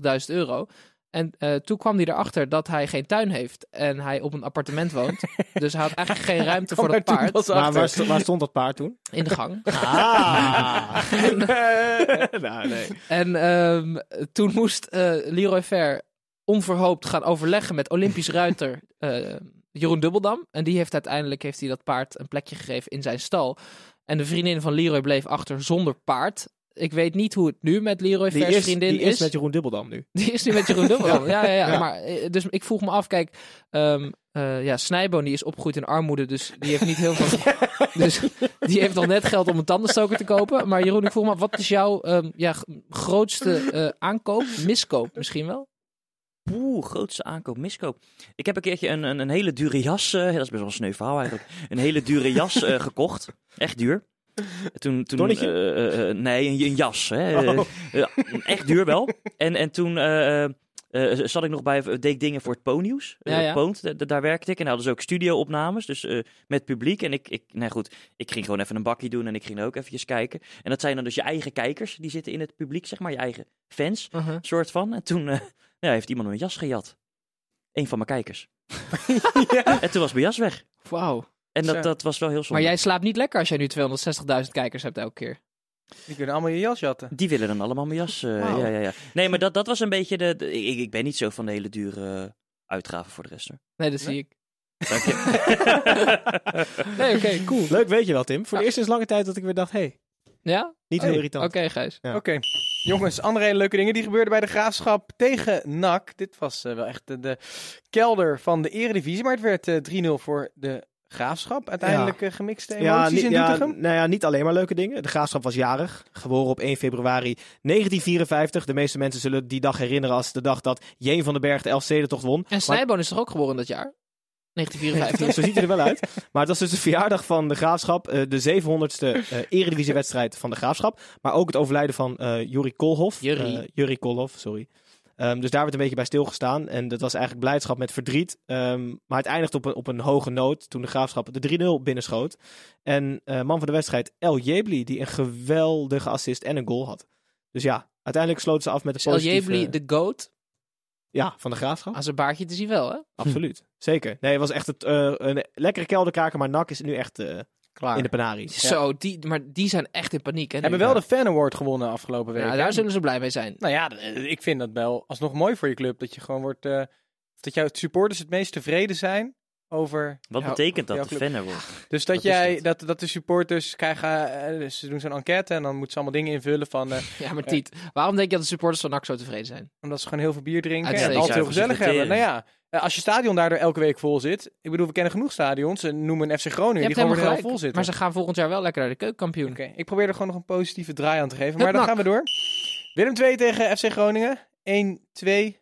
S4: 28.000 euro. En eh, toen kwam hij erachter dat hij geen tuin heeft en hij op een appartement woont. Dus hij had eigenlijk geen ruimte voor dat
S1: Maar toen
S4: paard
S1: was
S3: Maar
S1: achter.
S3: waar, st- waar stond dat paard toen?
S4: in de gang.
S3: Ah! nou, nee.
S4: En ehm, toen moest eh Leroy Ver onverhoopt gaan overleggen met Olympisch ruiter eh, Jeroen Dubbeldam. En die heeft uiteindelijk heeft hij dat paard een plekje gegeven in zijn stal. En de vriendin van Leroy bleef achter zonder paard. Ik weet niet hoe het nu met Leroy
S3: Die
S4: Ver's
S3: is,
S4: vriendin
S3: die is met Jeroen Dubbeldam nu.
S4: die is nu met Jeroen Dubbel. Ja, ja, ja. Maar, eh, dus ik vroeg me af, kijk, ehm, eh, ja, Snijboon die is opgegroeid in armoede, dus die heeft niet heel veel. dus die heeft nog net geld om een tandenstoker te kopen. Maar Jeroen, ik vroeg me af, wat is jouw ehm, ja, g- grootste eh, aankoop, miskoop misschien wel?
S5: Poeh, grootste aankoop, miskoop. Ik heb een keertje een, een, een hele dure jas, eh, dat is best wel een sneu verhaal eigenlijk, een hele dure jas eh, gekocht. Echt duur. Toen, toen,
S3: Tonnetje?
S5: eh, eh, eh, nee, een, een jas. Hè. Eh, eh, echt duur wel. En, en toen eh, eh, eh, zat ik nog bij, deed ik dingen voor het eh, Ponyus.
S4: Ja, ja.
S5: daar werkte ik en hadden ze ook studio-opnames, dus eh, met publiek. En ik, ik, nou goed, ik ging gewoon even een bakje doen en ik ging er ook eventjes kijken. En dat zijn dan dus je eigen kijkers, die zitten in het publiek, zeg maar, je eigen fans
S4: Uh-huh.
S5: soort van. En toen eh, ja, heeft iemand mijn jas gejat. Eén van mijn kijkers. En toen was mijn jas weg.
S4: Wauw.
S5: En
S1: Zo.
S5: dat, dat was wel heel zonde.
S4: Maar jij slaapt niet lekker als jij nu 260.000 kijkers hebt elke keer.
S1: Die kunnen allemaal je jas jatten.
S5: Die willen dan allemaal mijn jas. eh,
S4: Wauw.
S5: ja, ja, ja. Nee, maar dat, dat was een beetje de... de- ik, ik ben niet zo van de hele dure eh, uitgaven voor de rest. hoor.
S4: Nee, dat zie ik.
S5: Dank je.
S4: Nee, oké, cool.
S3: Leuk weet je wel, Tim. Voor
S4: Ja.
S3: de eerste is lange tijd dat ik weer dacht, hé, hey,
S4: Ja?
S3: niet
S1: Hey,
S3: heel
S4: Oh, Oké,
S3: irritant.
S4: Gijs.
S3: Ja.
S1: Oké. Jongens, andere hele leuke dingen die gebeurden bij de Graafschap tegen NAC. Dit was eh, wel echt eh, de kelder van de eredivisie, maar het werd eh, 3-0 voor de Graafschap. Uiteindelijk eh, gemixte emoties
S3: niet-
S1: in
S3: ja,
S1: Doetinchem.
S3: nou ja, niet alleen maar leuke dingen. De graafschap was jarig, geboren op 1 februari 1954. De meeste mensen zullen die dag herinneren als de dag dat Jeen van den Berg de Elfstedentocht won.
S4: En
S3: Maar-
S4: Snijboon is toch ook geboren dat jaar?
S3: Zo
S4: 1954.
S3: ziet hij er wel uit. Maar het was dus de verjaardag van de Graafschap. eh, de 700ste eh eredivisiewedstrijd van de Graafschap. Maar ook het overlijden van eh Juri Kolhoff.
S4: Jurrie.
S3: Eh, Jurrie Kolhoff, sorry. Ehm, dus daar werd een beetje bij stilgestaan. En dat was eigenlijk blijdschap met verdriet. Ehm, maar het eindigde op een, op een hoge noot toen de Graafschap de 3-0 binnenschoot. En eh, man van de wedstrijd, El Jebli, die een geweldige assist en een goal had. Dus ja, uiteindelijk sloten ze af met
S4: Is
S3: de
S4: Dus El
S3: positieve...
S4: Jebli de goat?
S3: Ja, van de Graafschap.
S4: Aan zijn baardje te zien wel, hè?
S3: Absoluut. Zeker. Nee, het was echt het, eh, een lekkere kelderkaker. Maar NAC is nu echt... eh,
S1: Klaar.
S3: in de penaries.
S4: Zo, die, maar die zijn echt in paniek. Hè,
S1: Hebben
S4: nu.
S1: wel de Fan Award gewonnen afgelopen week.
S4: Ja,
S1: hè?
S4: daar zullen ze blij mee zijn.
S1: Nou ja, eh, ik vind dat wel alsnog mooi voor je club. Dat je gewoon wordt. eh, dat jouw supporters het meest tevreden zijn over.
S5: Wat
S1: jou-
S5: betekent
S1: jouw
S5: dat, de
S1: club.
S5: fannen wordt?
S1: Dus dat,
S5: Wat is
S1: jij,
S5: dat?
S1: dat? Dat, de supporters krijgen. eh, ze doen zo'n enquête en dan moeten ze allemaal dingen invullen. Van, eh,
S4: Ja, maar Tiet, waarom denk je dat de supporters van NAC zo tevreden zijn?
S1: omdat ze gewoon heel veel bier drinken en
S4: Uitstekend.
S1: het altijd heel gezellig
S5: Zuivere
S1: hebben. Nou ja, eh, als je stadion daardoor elke week vol zit. Ik bedoel, we kennen genoeg stadions. eh, Noem een FC Groningen.
S4: je
S1: die gewoon
S4: hebt helemaal
S1: weer heel
S4: gelijk,
S1: vol zitten.
S4: maar ze gaan volgend jaar wel lekker naar de keukenkampioen.
S1: Oké, ik probeer er gewoon nog een positieve draai aan te geven.
S4: Het
S1: Maar dan
S4: NAC.
S1: gaan we door. Willem 2 tegen FC Groningen. 1-2.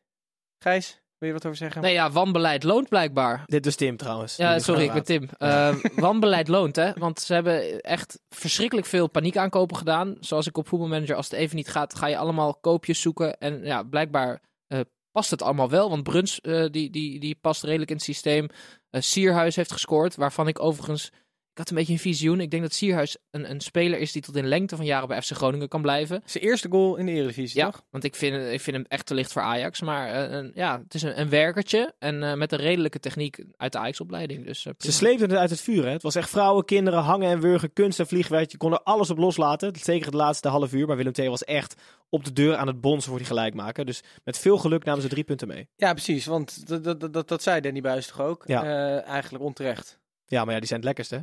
S1: Gijs, wil je wat over zeggen?
S4: Nee, ja, wanbeleid loont blijkbaar.
S3: Dit was Tim trouwens.
S4: Ja, sorry, ik ben Tim. Eh, wanbeleid loont, hè? Want ze hebben echt verschrikkelijk veel paniekaankopen gedaan. Zoals ik op voetbalmanager, als het even niet gaat, ga je allemaal koopjes zoeken. En ja, blijkbaar eh, past het allemaal wel. Want Bruns, eh, die, die, die past redelijk in het systeem. Eh, Sierhuis heeft gescoord, waarvan ik overigens... Ik had een beetje een visioen. Ik denk dat Sierhuis een, een speler is die tot in lengte van jaren bij FC Groningen kan blijven.
S1: Zijn eerste goal in de Eredivisie,
S4: Ja,
S1: toch?
S4: want ik vind, ik vind hem echt te licht voor Ajax. Maar eh, een- ja, het is een, een werkertje en eh, met een redelijke techniek uit de Ajax-opleiding. Dus, eh,
S3: Ze
S4: prima.
S3: sleepten het uit het vuur. Hè? Het was echt vrouwen, kinderen, hangen en wurgen, kunst en vliegwerk. Je kon er alles op loslaten. Zeker het laatste half uur. Maar Willem II was echt op de deur aan het bonzen voor die gelijkmaker. Dus met veel geluk namen ze drie punten mee.
S1: Ja, precies. Want dat, dat, dat, dat zei Danny Buis toch ook?
S3: Ja.
S1: Eh, eigenlijk onterecht.
S3: Ja, maar ja, die zijn het lekkerste. hè?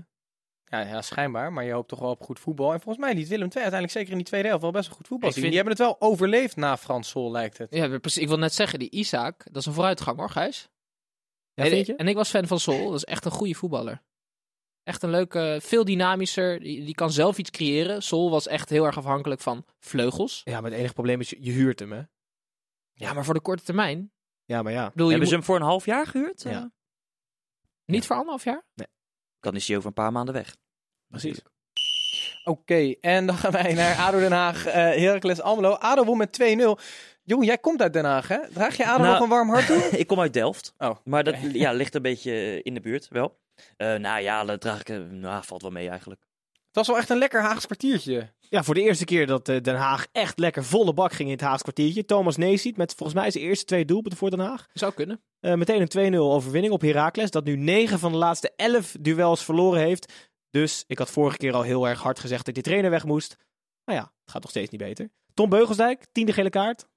S1: Ja, ja, schijnbaar. Maar je hoopt toch wel op goed voetbal. En volgens mij liet Willem II uiteindelijk zeker in die tweede helft wel best wel goed voetbal
S4: Ik
S1: zien.
S4: vind-
S1: Die hebben het wel overleefd na Frans Sol, lijkt het.
S4: Ja, precies. Ik wil net zeggen, die Isaac, dat is een vooruitgang hoor, Gijs.
S3: Ja,
S4: Nee,
S3: vind je?
S4: En ik was fan van Sol. Dat is echt een goede voetballer. Echt een leuke, veel dynamischer. Die, die kan zelf iets creëren. Sol was echt heel erg afhankelijk van vleugels.
S3: Ja, maar het enige probleem is, je je huurt hem, hè?
S4: Ja, maar voor de korte termijn. Ik
S3: Ja, maar ja.
S4: bedoel, je
S5: Hebben ze
S4: moet-
S5: hem voor een half jaar gehuurd?
S3: Ja.
S5: Eh,
S4: niet voor anderhalf jaar?
S5: Dan is hij over een paar maanden weg.
S3: Precies.
S1: Oké, en dan gaan wij naar ADO Den Haag, eh Heracles Almelo. ADO won met 2-0. Jong, jij komt uit Den Haag, hè? Draag je ADO
S5: Nou-
S1: nog een warm hart toe?
S5: ik kom uit Delft.
S1: Oh,
S5: Maar dat
S1: oké.
S5: ja, ligt een beetje in de buurt wel. Eh, nou ja, dat draag ik. eh, nou, valt wel mee eigenlijk.
S1: Het was wel echt een lekker Haags kwartiertje.
S3: Ja, voor de eerste keer dat eh, Den Haag echt lekker volle bak ging in het Haagse kwartiertje. Thomas Neesiet met volgens mij zijn eerste twee doelpunten voor Den Haag.
S4: Zou kunnen.
S3: Eh, meteen een 2-0 overwinning op Heracles, dat nu 9 van de laatste 11 duels verloren heeft. Dus ik had vorige keer al heel erg hard gezegd dat die trainer weg moest. Nou ja, het gaat nog steeds niet beter. Tom Beugelsdijk, tiende gele kaart.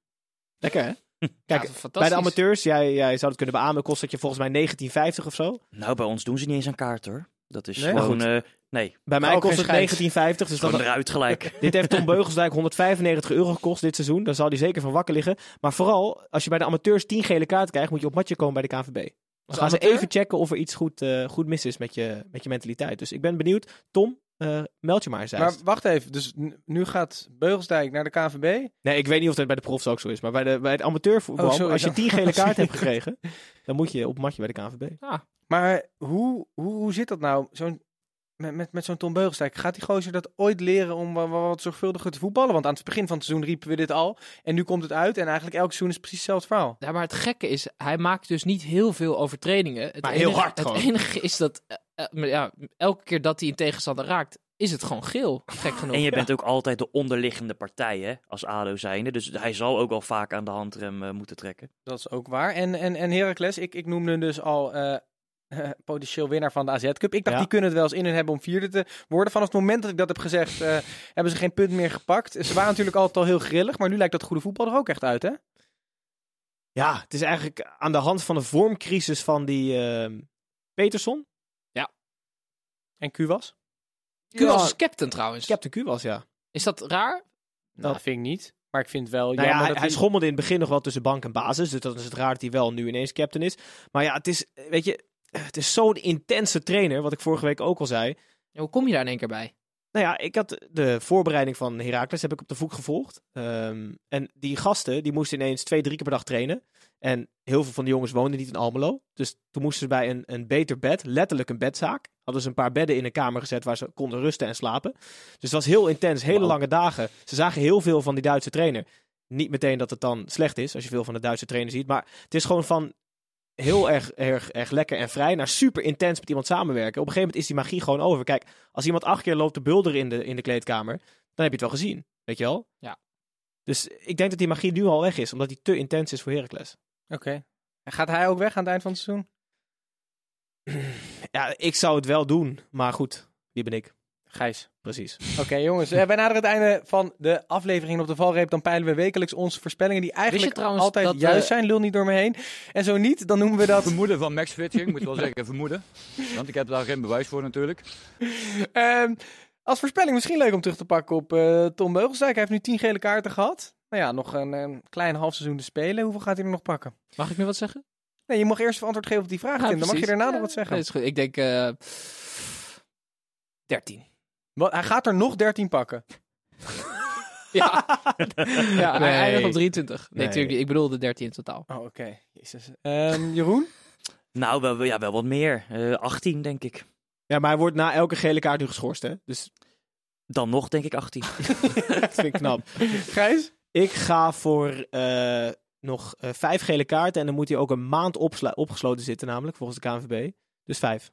S3: Lekker hè? Kijk,
S4: Ja, fantastisch.
S3: bij de amateurs, jij, jij zou het kunnen beamen, kost dat je volgens mij 19,50 of zo.
S5: Nou, bij ons doen ze niet eens aan kaart hoor. Dat is
S3: Nee?
S5: gewoon.
S3: Maar
S5: eh, nee,
S3: Bij mij
S1: Ook
S3: kost
S1: geen
S3: het 19,50.
S1: schijnt.
S3: Dus
S5: gewoon
S3: dan,
S5: eruit gelijk.
S3: Dit heeft Tom Beugelsdijk 195 euro gekost dit seizoen. Daar zal hij zeker van wakker liggen. Maar vooral, als je bij de amateurs 10 gele kaart krijgt, moet je op matje komen bij de KNVB. Dan gaan ze
S4: amateur?
S3: even checken of er iets goed, eh, goed mis is met je, met je mentaliteit. Dus ik ben benieuwd. Tom, eh, meld je maar eens.
S1: Maar
S3: uit.
S1: wacht even, dus n- nu gaat Beugelsdijk naar de KNVB.
S3: Nee, ik weet niet of dat bij de profs ook zo is. Maar bij, de, bij het amateurvoetbal,
S1: Oh, sorry,
S3: als je
S1: dan-
S3: 10 gele kaart
S1: sorry.
S3: hebt gekregen, dan moet je op matje bij de KNVB.
S1: Maar hoe, hoe, hoe zit dat nou zo'n, met, met, met zo'n Tom Beugelsdijk? Gaat die gozer dat ooit leren om wa- wa- wat, zorgvuldiger te voetballen? Want aan het begin van het seizoen riepen we dit al. En nu komt het uit. En eigenlijk elk seizoen is precies hetzelfde verhaal.
S4: Ja, maar het gekke is, hij maakt dus niet heel veel overtredingen. Het
S3: Maar heel
S4: enige,
S3: hard
S4: Het
S3: gewoon.
S4: enige is dat eh, eh, maar ja, elke keer dat hij een tegenstander raakt, is het gewoon geel. Gek genoeg.
S5: En je
S4: Ja.
S5: bent ook altijd de onderliggende partij hè, als ADO zijnde. Dus hij zal ook wel vaak aan de handrem eh, moeten trekken.
S1: Dat is ook waar. En, en, en Heracles, ik, ik noemde dus al eh, eh, potentieel winnaar van de AZ Cup. Ik dacht,
S3: Ja.
S1: die kunnen het wel eens in hun hebben om vierde te worden. Vanaf het moment dat ik dat heb gezegd, eh, hebben ze geen punt meer gepakt. Ze waren natuurlijk altijd al heel grillig. Maar nu lijkt dat goede voetbal er ook echt uit, hè?
S3: Ja, het is eigenlijk aan de hand van de vormcrisis van die eh, Peterson.
S1: En Q was?
S4: Kuwas
S3: Ja.
S4: is captain trouwens.
S3: Captain Q was, ja.
S4: Is dat raar?
S1: Nou,
S3: Dat-
S1: dat vind ik niet. Maar ik vind wel
S3: Nou
S1: jammer
S3: ja, hij,
S1: dat
S3: hij
S1: die-
S3: schommelde in het begin nog wel tussen bank en basis. Dus dan is het raar dat hij wel nu ineens captain is. Maar ja, het is, eh, weet je, het is zo'n intense trainer. Wat ik vorige week ook al zei.
S4: Ja, Hoe kom je daar in één keer bij?
S3: Nou ja, ik had de voorbereiding van Heracles heb ik op de voet gevolgd. Ehm, en die gasten, die moesten ineens twee, drie keer per dag trainen. En heel veel van de jongens woonden niet in Almelo. Dus toen moesten ze bij een, een beter bed, letterlijk een bedzaak. Hadden ze een paar bedden in een kamer gezet waar ze konden rusten en slapen. Dus het was heel intens, hele lange dagen. Ze zagen heel veel van die Duitse trainer. Niet meteen dat het dan slecht is, als je veel van de Duitse trainer ziet. Maar het is gewoon van heel erg, erg, erg lekker en vrij naar super intens met iemand samenwerken. Op een gegeven moment is die magie gewoon over. Kijk, als iemand acht keer loopt te bulderen in de, in de kleedkamer, dan heb je het wel gezien. Weet je wel?
S4: Ja.
S3: Dus ik denk dat die magie nu al weg is, omdat die te intens is voor Heracles.
S1: Oké. En Gaat hij ook weg aan het eind van het seizoen?
S3: Ja, ik zou het wel doen, maar goed, die ben ik.
S1: Gijs.
S3: Precies.
S1: Oké, jongens. eh, wij naderen het einde van de aflevering op de valreep. Dan peilen we wekelijks onze voorspellingen die eigenlijk
S4: trouwens
S1: altijd
S4: dat,
S1: juist
S4: eh,
S1: zijn. Lul niet door me heen. En zo niet, dan noemen we dat...
S7: Vermoeden van Max Fitching, moet wel zeggen, vermoeden. Want ik heb daar geen bewijs voor natuurlijk.
S1: Ehm, als voorspelling misschien leuk om terug te pakken op eh, Tom Beugelsdijk. Hij heeft nu 10 gele kaarten gehad. Nou ja, nog een, eh, klein half seizoen te spelen. Hoeveel gaat hij er nog pakken?
S4: Mag ik nu wat zeggen?
S1: Nee, je mag eerst even antwoord geven op die vraag,
S4: Ja,
S1: Tim. Dan mag je
S4: precies.
S1: daarna
S4: Ja,
S1: nog wat zeggen.
S4: nee, is goed. Ik denk eh 13.
S1: Wat, hij gaat er nog 13 pakken.
S4: Ja, ja
S3: Nee.
S4: hij eindigt op 23. Nee,
S3: Nee.
S4: natuurlijk niet. Ik bedoelde 13 in totaal.
S1: Oh, oké. Jezus. Ehm, Jeroen?
S5: Nou, wel, ja, wel wat meer. Eh 18 denk ik.
S3: Ja, maar hij wordt na elke gele kaart nu geschorst, hè? Dus
S5: Dan nog denk ik 18.
S3: dat vind ik knap.
S1: Gijs?
S3: Ik ga voor eh, nog eh, vijf gele kaarten en dan moet hij ook een maand opsla- opgesloten zitten, namelijk, volgens de KNVB. Dus vijf.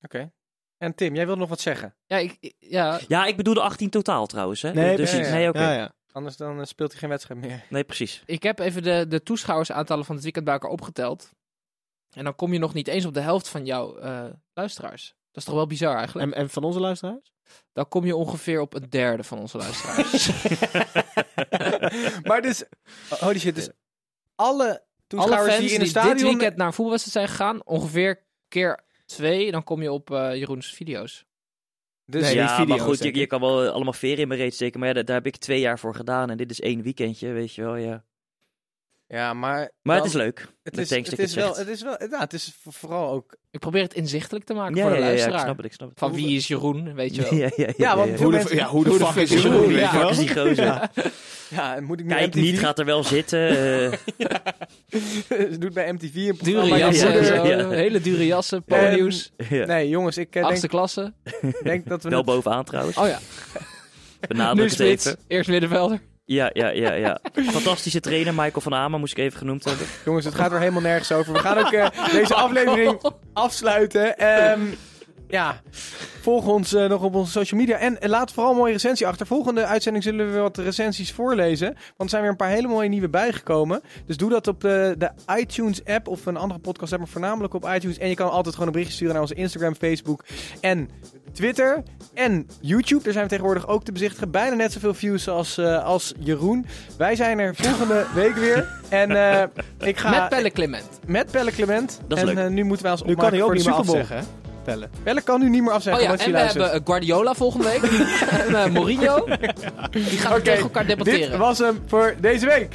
S1: Oké. En Tim, jij wilde nog wat zeggen.
S4: Ja, ik, ik- ja,
S5: ja, ik bedoel de 18 totaal trouwens. Hè?
S3: Nee,
S5: dus,
S1: precies.
S5: Nee, oké.
S3: Ja, ja.
S1: Anders dan eh, speelt hij geen wedstrijd meer.
S5: nee, precies.
S4: ik heb even de, de toeschouwersaantallen van het weekend bij elkaar opgeteld. En dan kom je nog niet eens op de helft van jouw eh, luisteraars. Dat is toch wel bizar eigenlijk?
S3: En, en van onze luisteraars?
S4: Dan kom je ongeveer op een derde van onze luisteraars.
S1: Maar dus, holy shit, dus alle
S4: Alle
S1: toeschouwers
S4: fans
S1: die
S4: die
S1: in het
S4: dit
S1: stadion...
S4: weekend naar een voetbalwedstrijd zijn gegaan, ongeveer keer twee, dan kom je op eh, Jeroens video's.
S1: dus
S3: Nee,
S5: ja,
S3: die video's,
S5: maar goed, je,
S3: denk
S5: je
S3: ik.
S5: kan wel eh, allemaal veren in mijn reet steken. Maar ja, daar, daar heb ik twee jaar voor gedaan. En dit is één weekendje, weet je wel. Ja.
S1: Ja, maar... dan-
S5: Maar het is leuk.
S1: Het
S5: Dat
S1: is,
S5: denk ik
S1: het
S5: dat
S1: is
S5: je het
S1: wel, het is wel, ja, het is voor- vooral ook...
S4: Ik probeer het inzichtelijk te maken
S5: Ja,
S4: voor
S5: ja,
S4: de
S5: ja, ja, ik
S4: luisteraar.
S5: snap het, ik snap het.
S4: Van wie is Jeroen, weet je wel.
S5: Ja, ja,
S1: Ja, want
S5: ja.
S1: veel
S3: Hoe de,
S1: mensen-
S3: ja, hoe de fuck, is Jeroen? weet je
S5: Fuck
S3: wel?
S5: is die gozer.
S1: Ja, moet ik nu
S5: Kijk
S1: MTV
S5: niet, gaat er wel zitten. eh.
S1: Ze doet bij MTV een
S4: Dure
S1: programma.
S5: ja,
S4: jassen,
S5: ja,
S4: en
S5: ja,
S4: zo,
S5: ja.
S4: hele dure jassen,
S1: Ehm,
S4: ponyhoes,
S5: ja.
S1: Nee, jongens, ik eh,
S4: achtste
S1: denk,
S4: klasse.
S1: denk dat we...
S5: Wel
S1: het-
S5: bovenaan trouwens.
S4: Oh ja, nu
S5: Benadruk het
S4: spits,
S5: even.
S4: eerst middenvelder.
S5: Ja, ja, ja, ja. Fantastische trainer Michael van Amen moest ik even genoemd hebben.
S1: Jongens, het gaat er helemaal nergens over. We gaan ook eh, deze aflevering afsluiten. Ehm, ja, volg ons eh, nog op onze social media. En eh, laat vooral een mooie recensie achter. Volgende uitzending zullen we weer wat recensies voorlezen. Want er zijn weer een paar hele mooie nieuwe bijgekomen. Dus doe dat op de, de iTunes-app of een andere podcast-app. Maar voornamelijk op iTunes. En je kan altijd gewoon een berichtje sturen naar onze Instagram, Facebook en Twitter. En YouTube. Er zijn we tegenwoordig ook te bezichtigen. Bijna net zoveel views als, eh, als Jeroen. Wij zijn er volgende week weer. En eh, ik ga...
S4: Met Pelle Clement. Oh
S1: Met Pelle Clement.
S5: Dat is
S1: en
S5: leuk.
S1: eh, nu moeten wij ons
S3: Nu kan
S1: opmaken
S3: hij ook
S1: voor de
S3: niet meer
S1: Super Bowl.
S3: afzeggen. hè? Pellen.
S1: Pelle kan nu niet meer afzeggen.
S4: Oh ja,
S1: want hij
S4: en we
S1: luistert.
S4: hebben eh, Guardiola volgende week. en eh, Mourinho. Die gaan we tegen elkaar debatteren.
S1: Dit was hem voor deze week.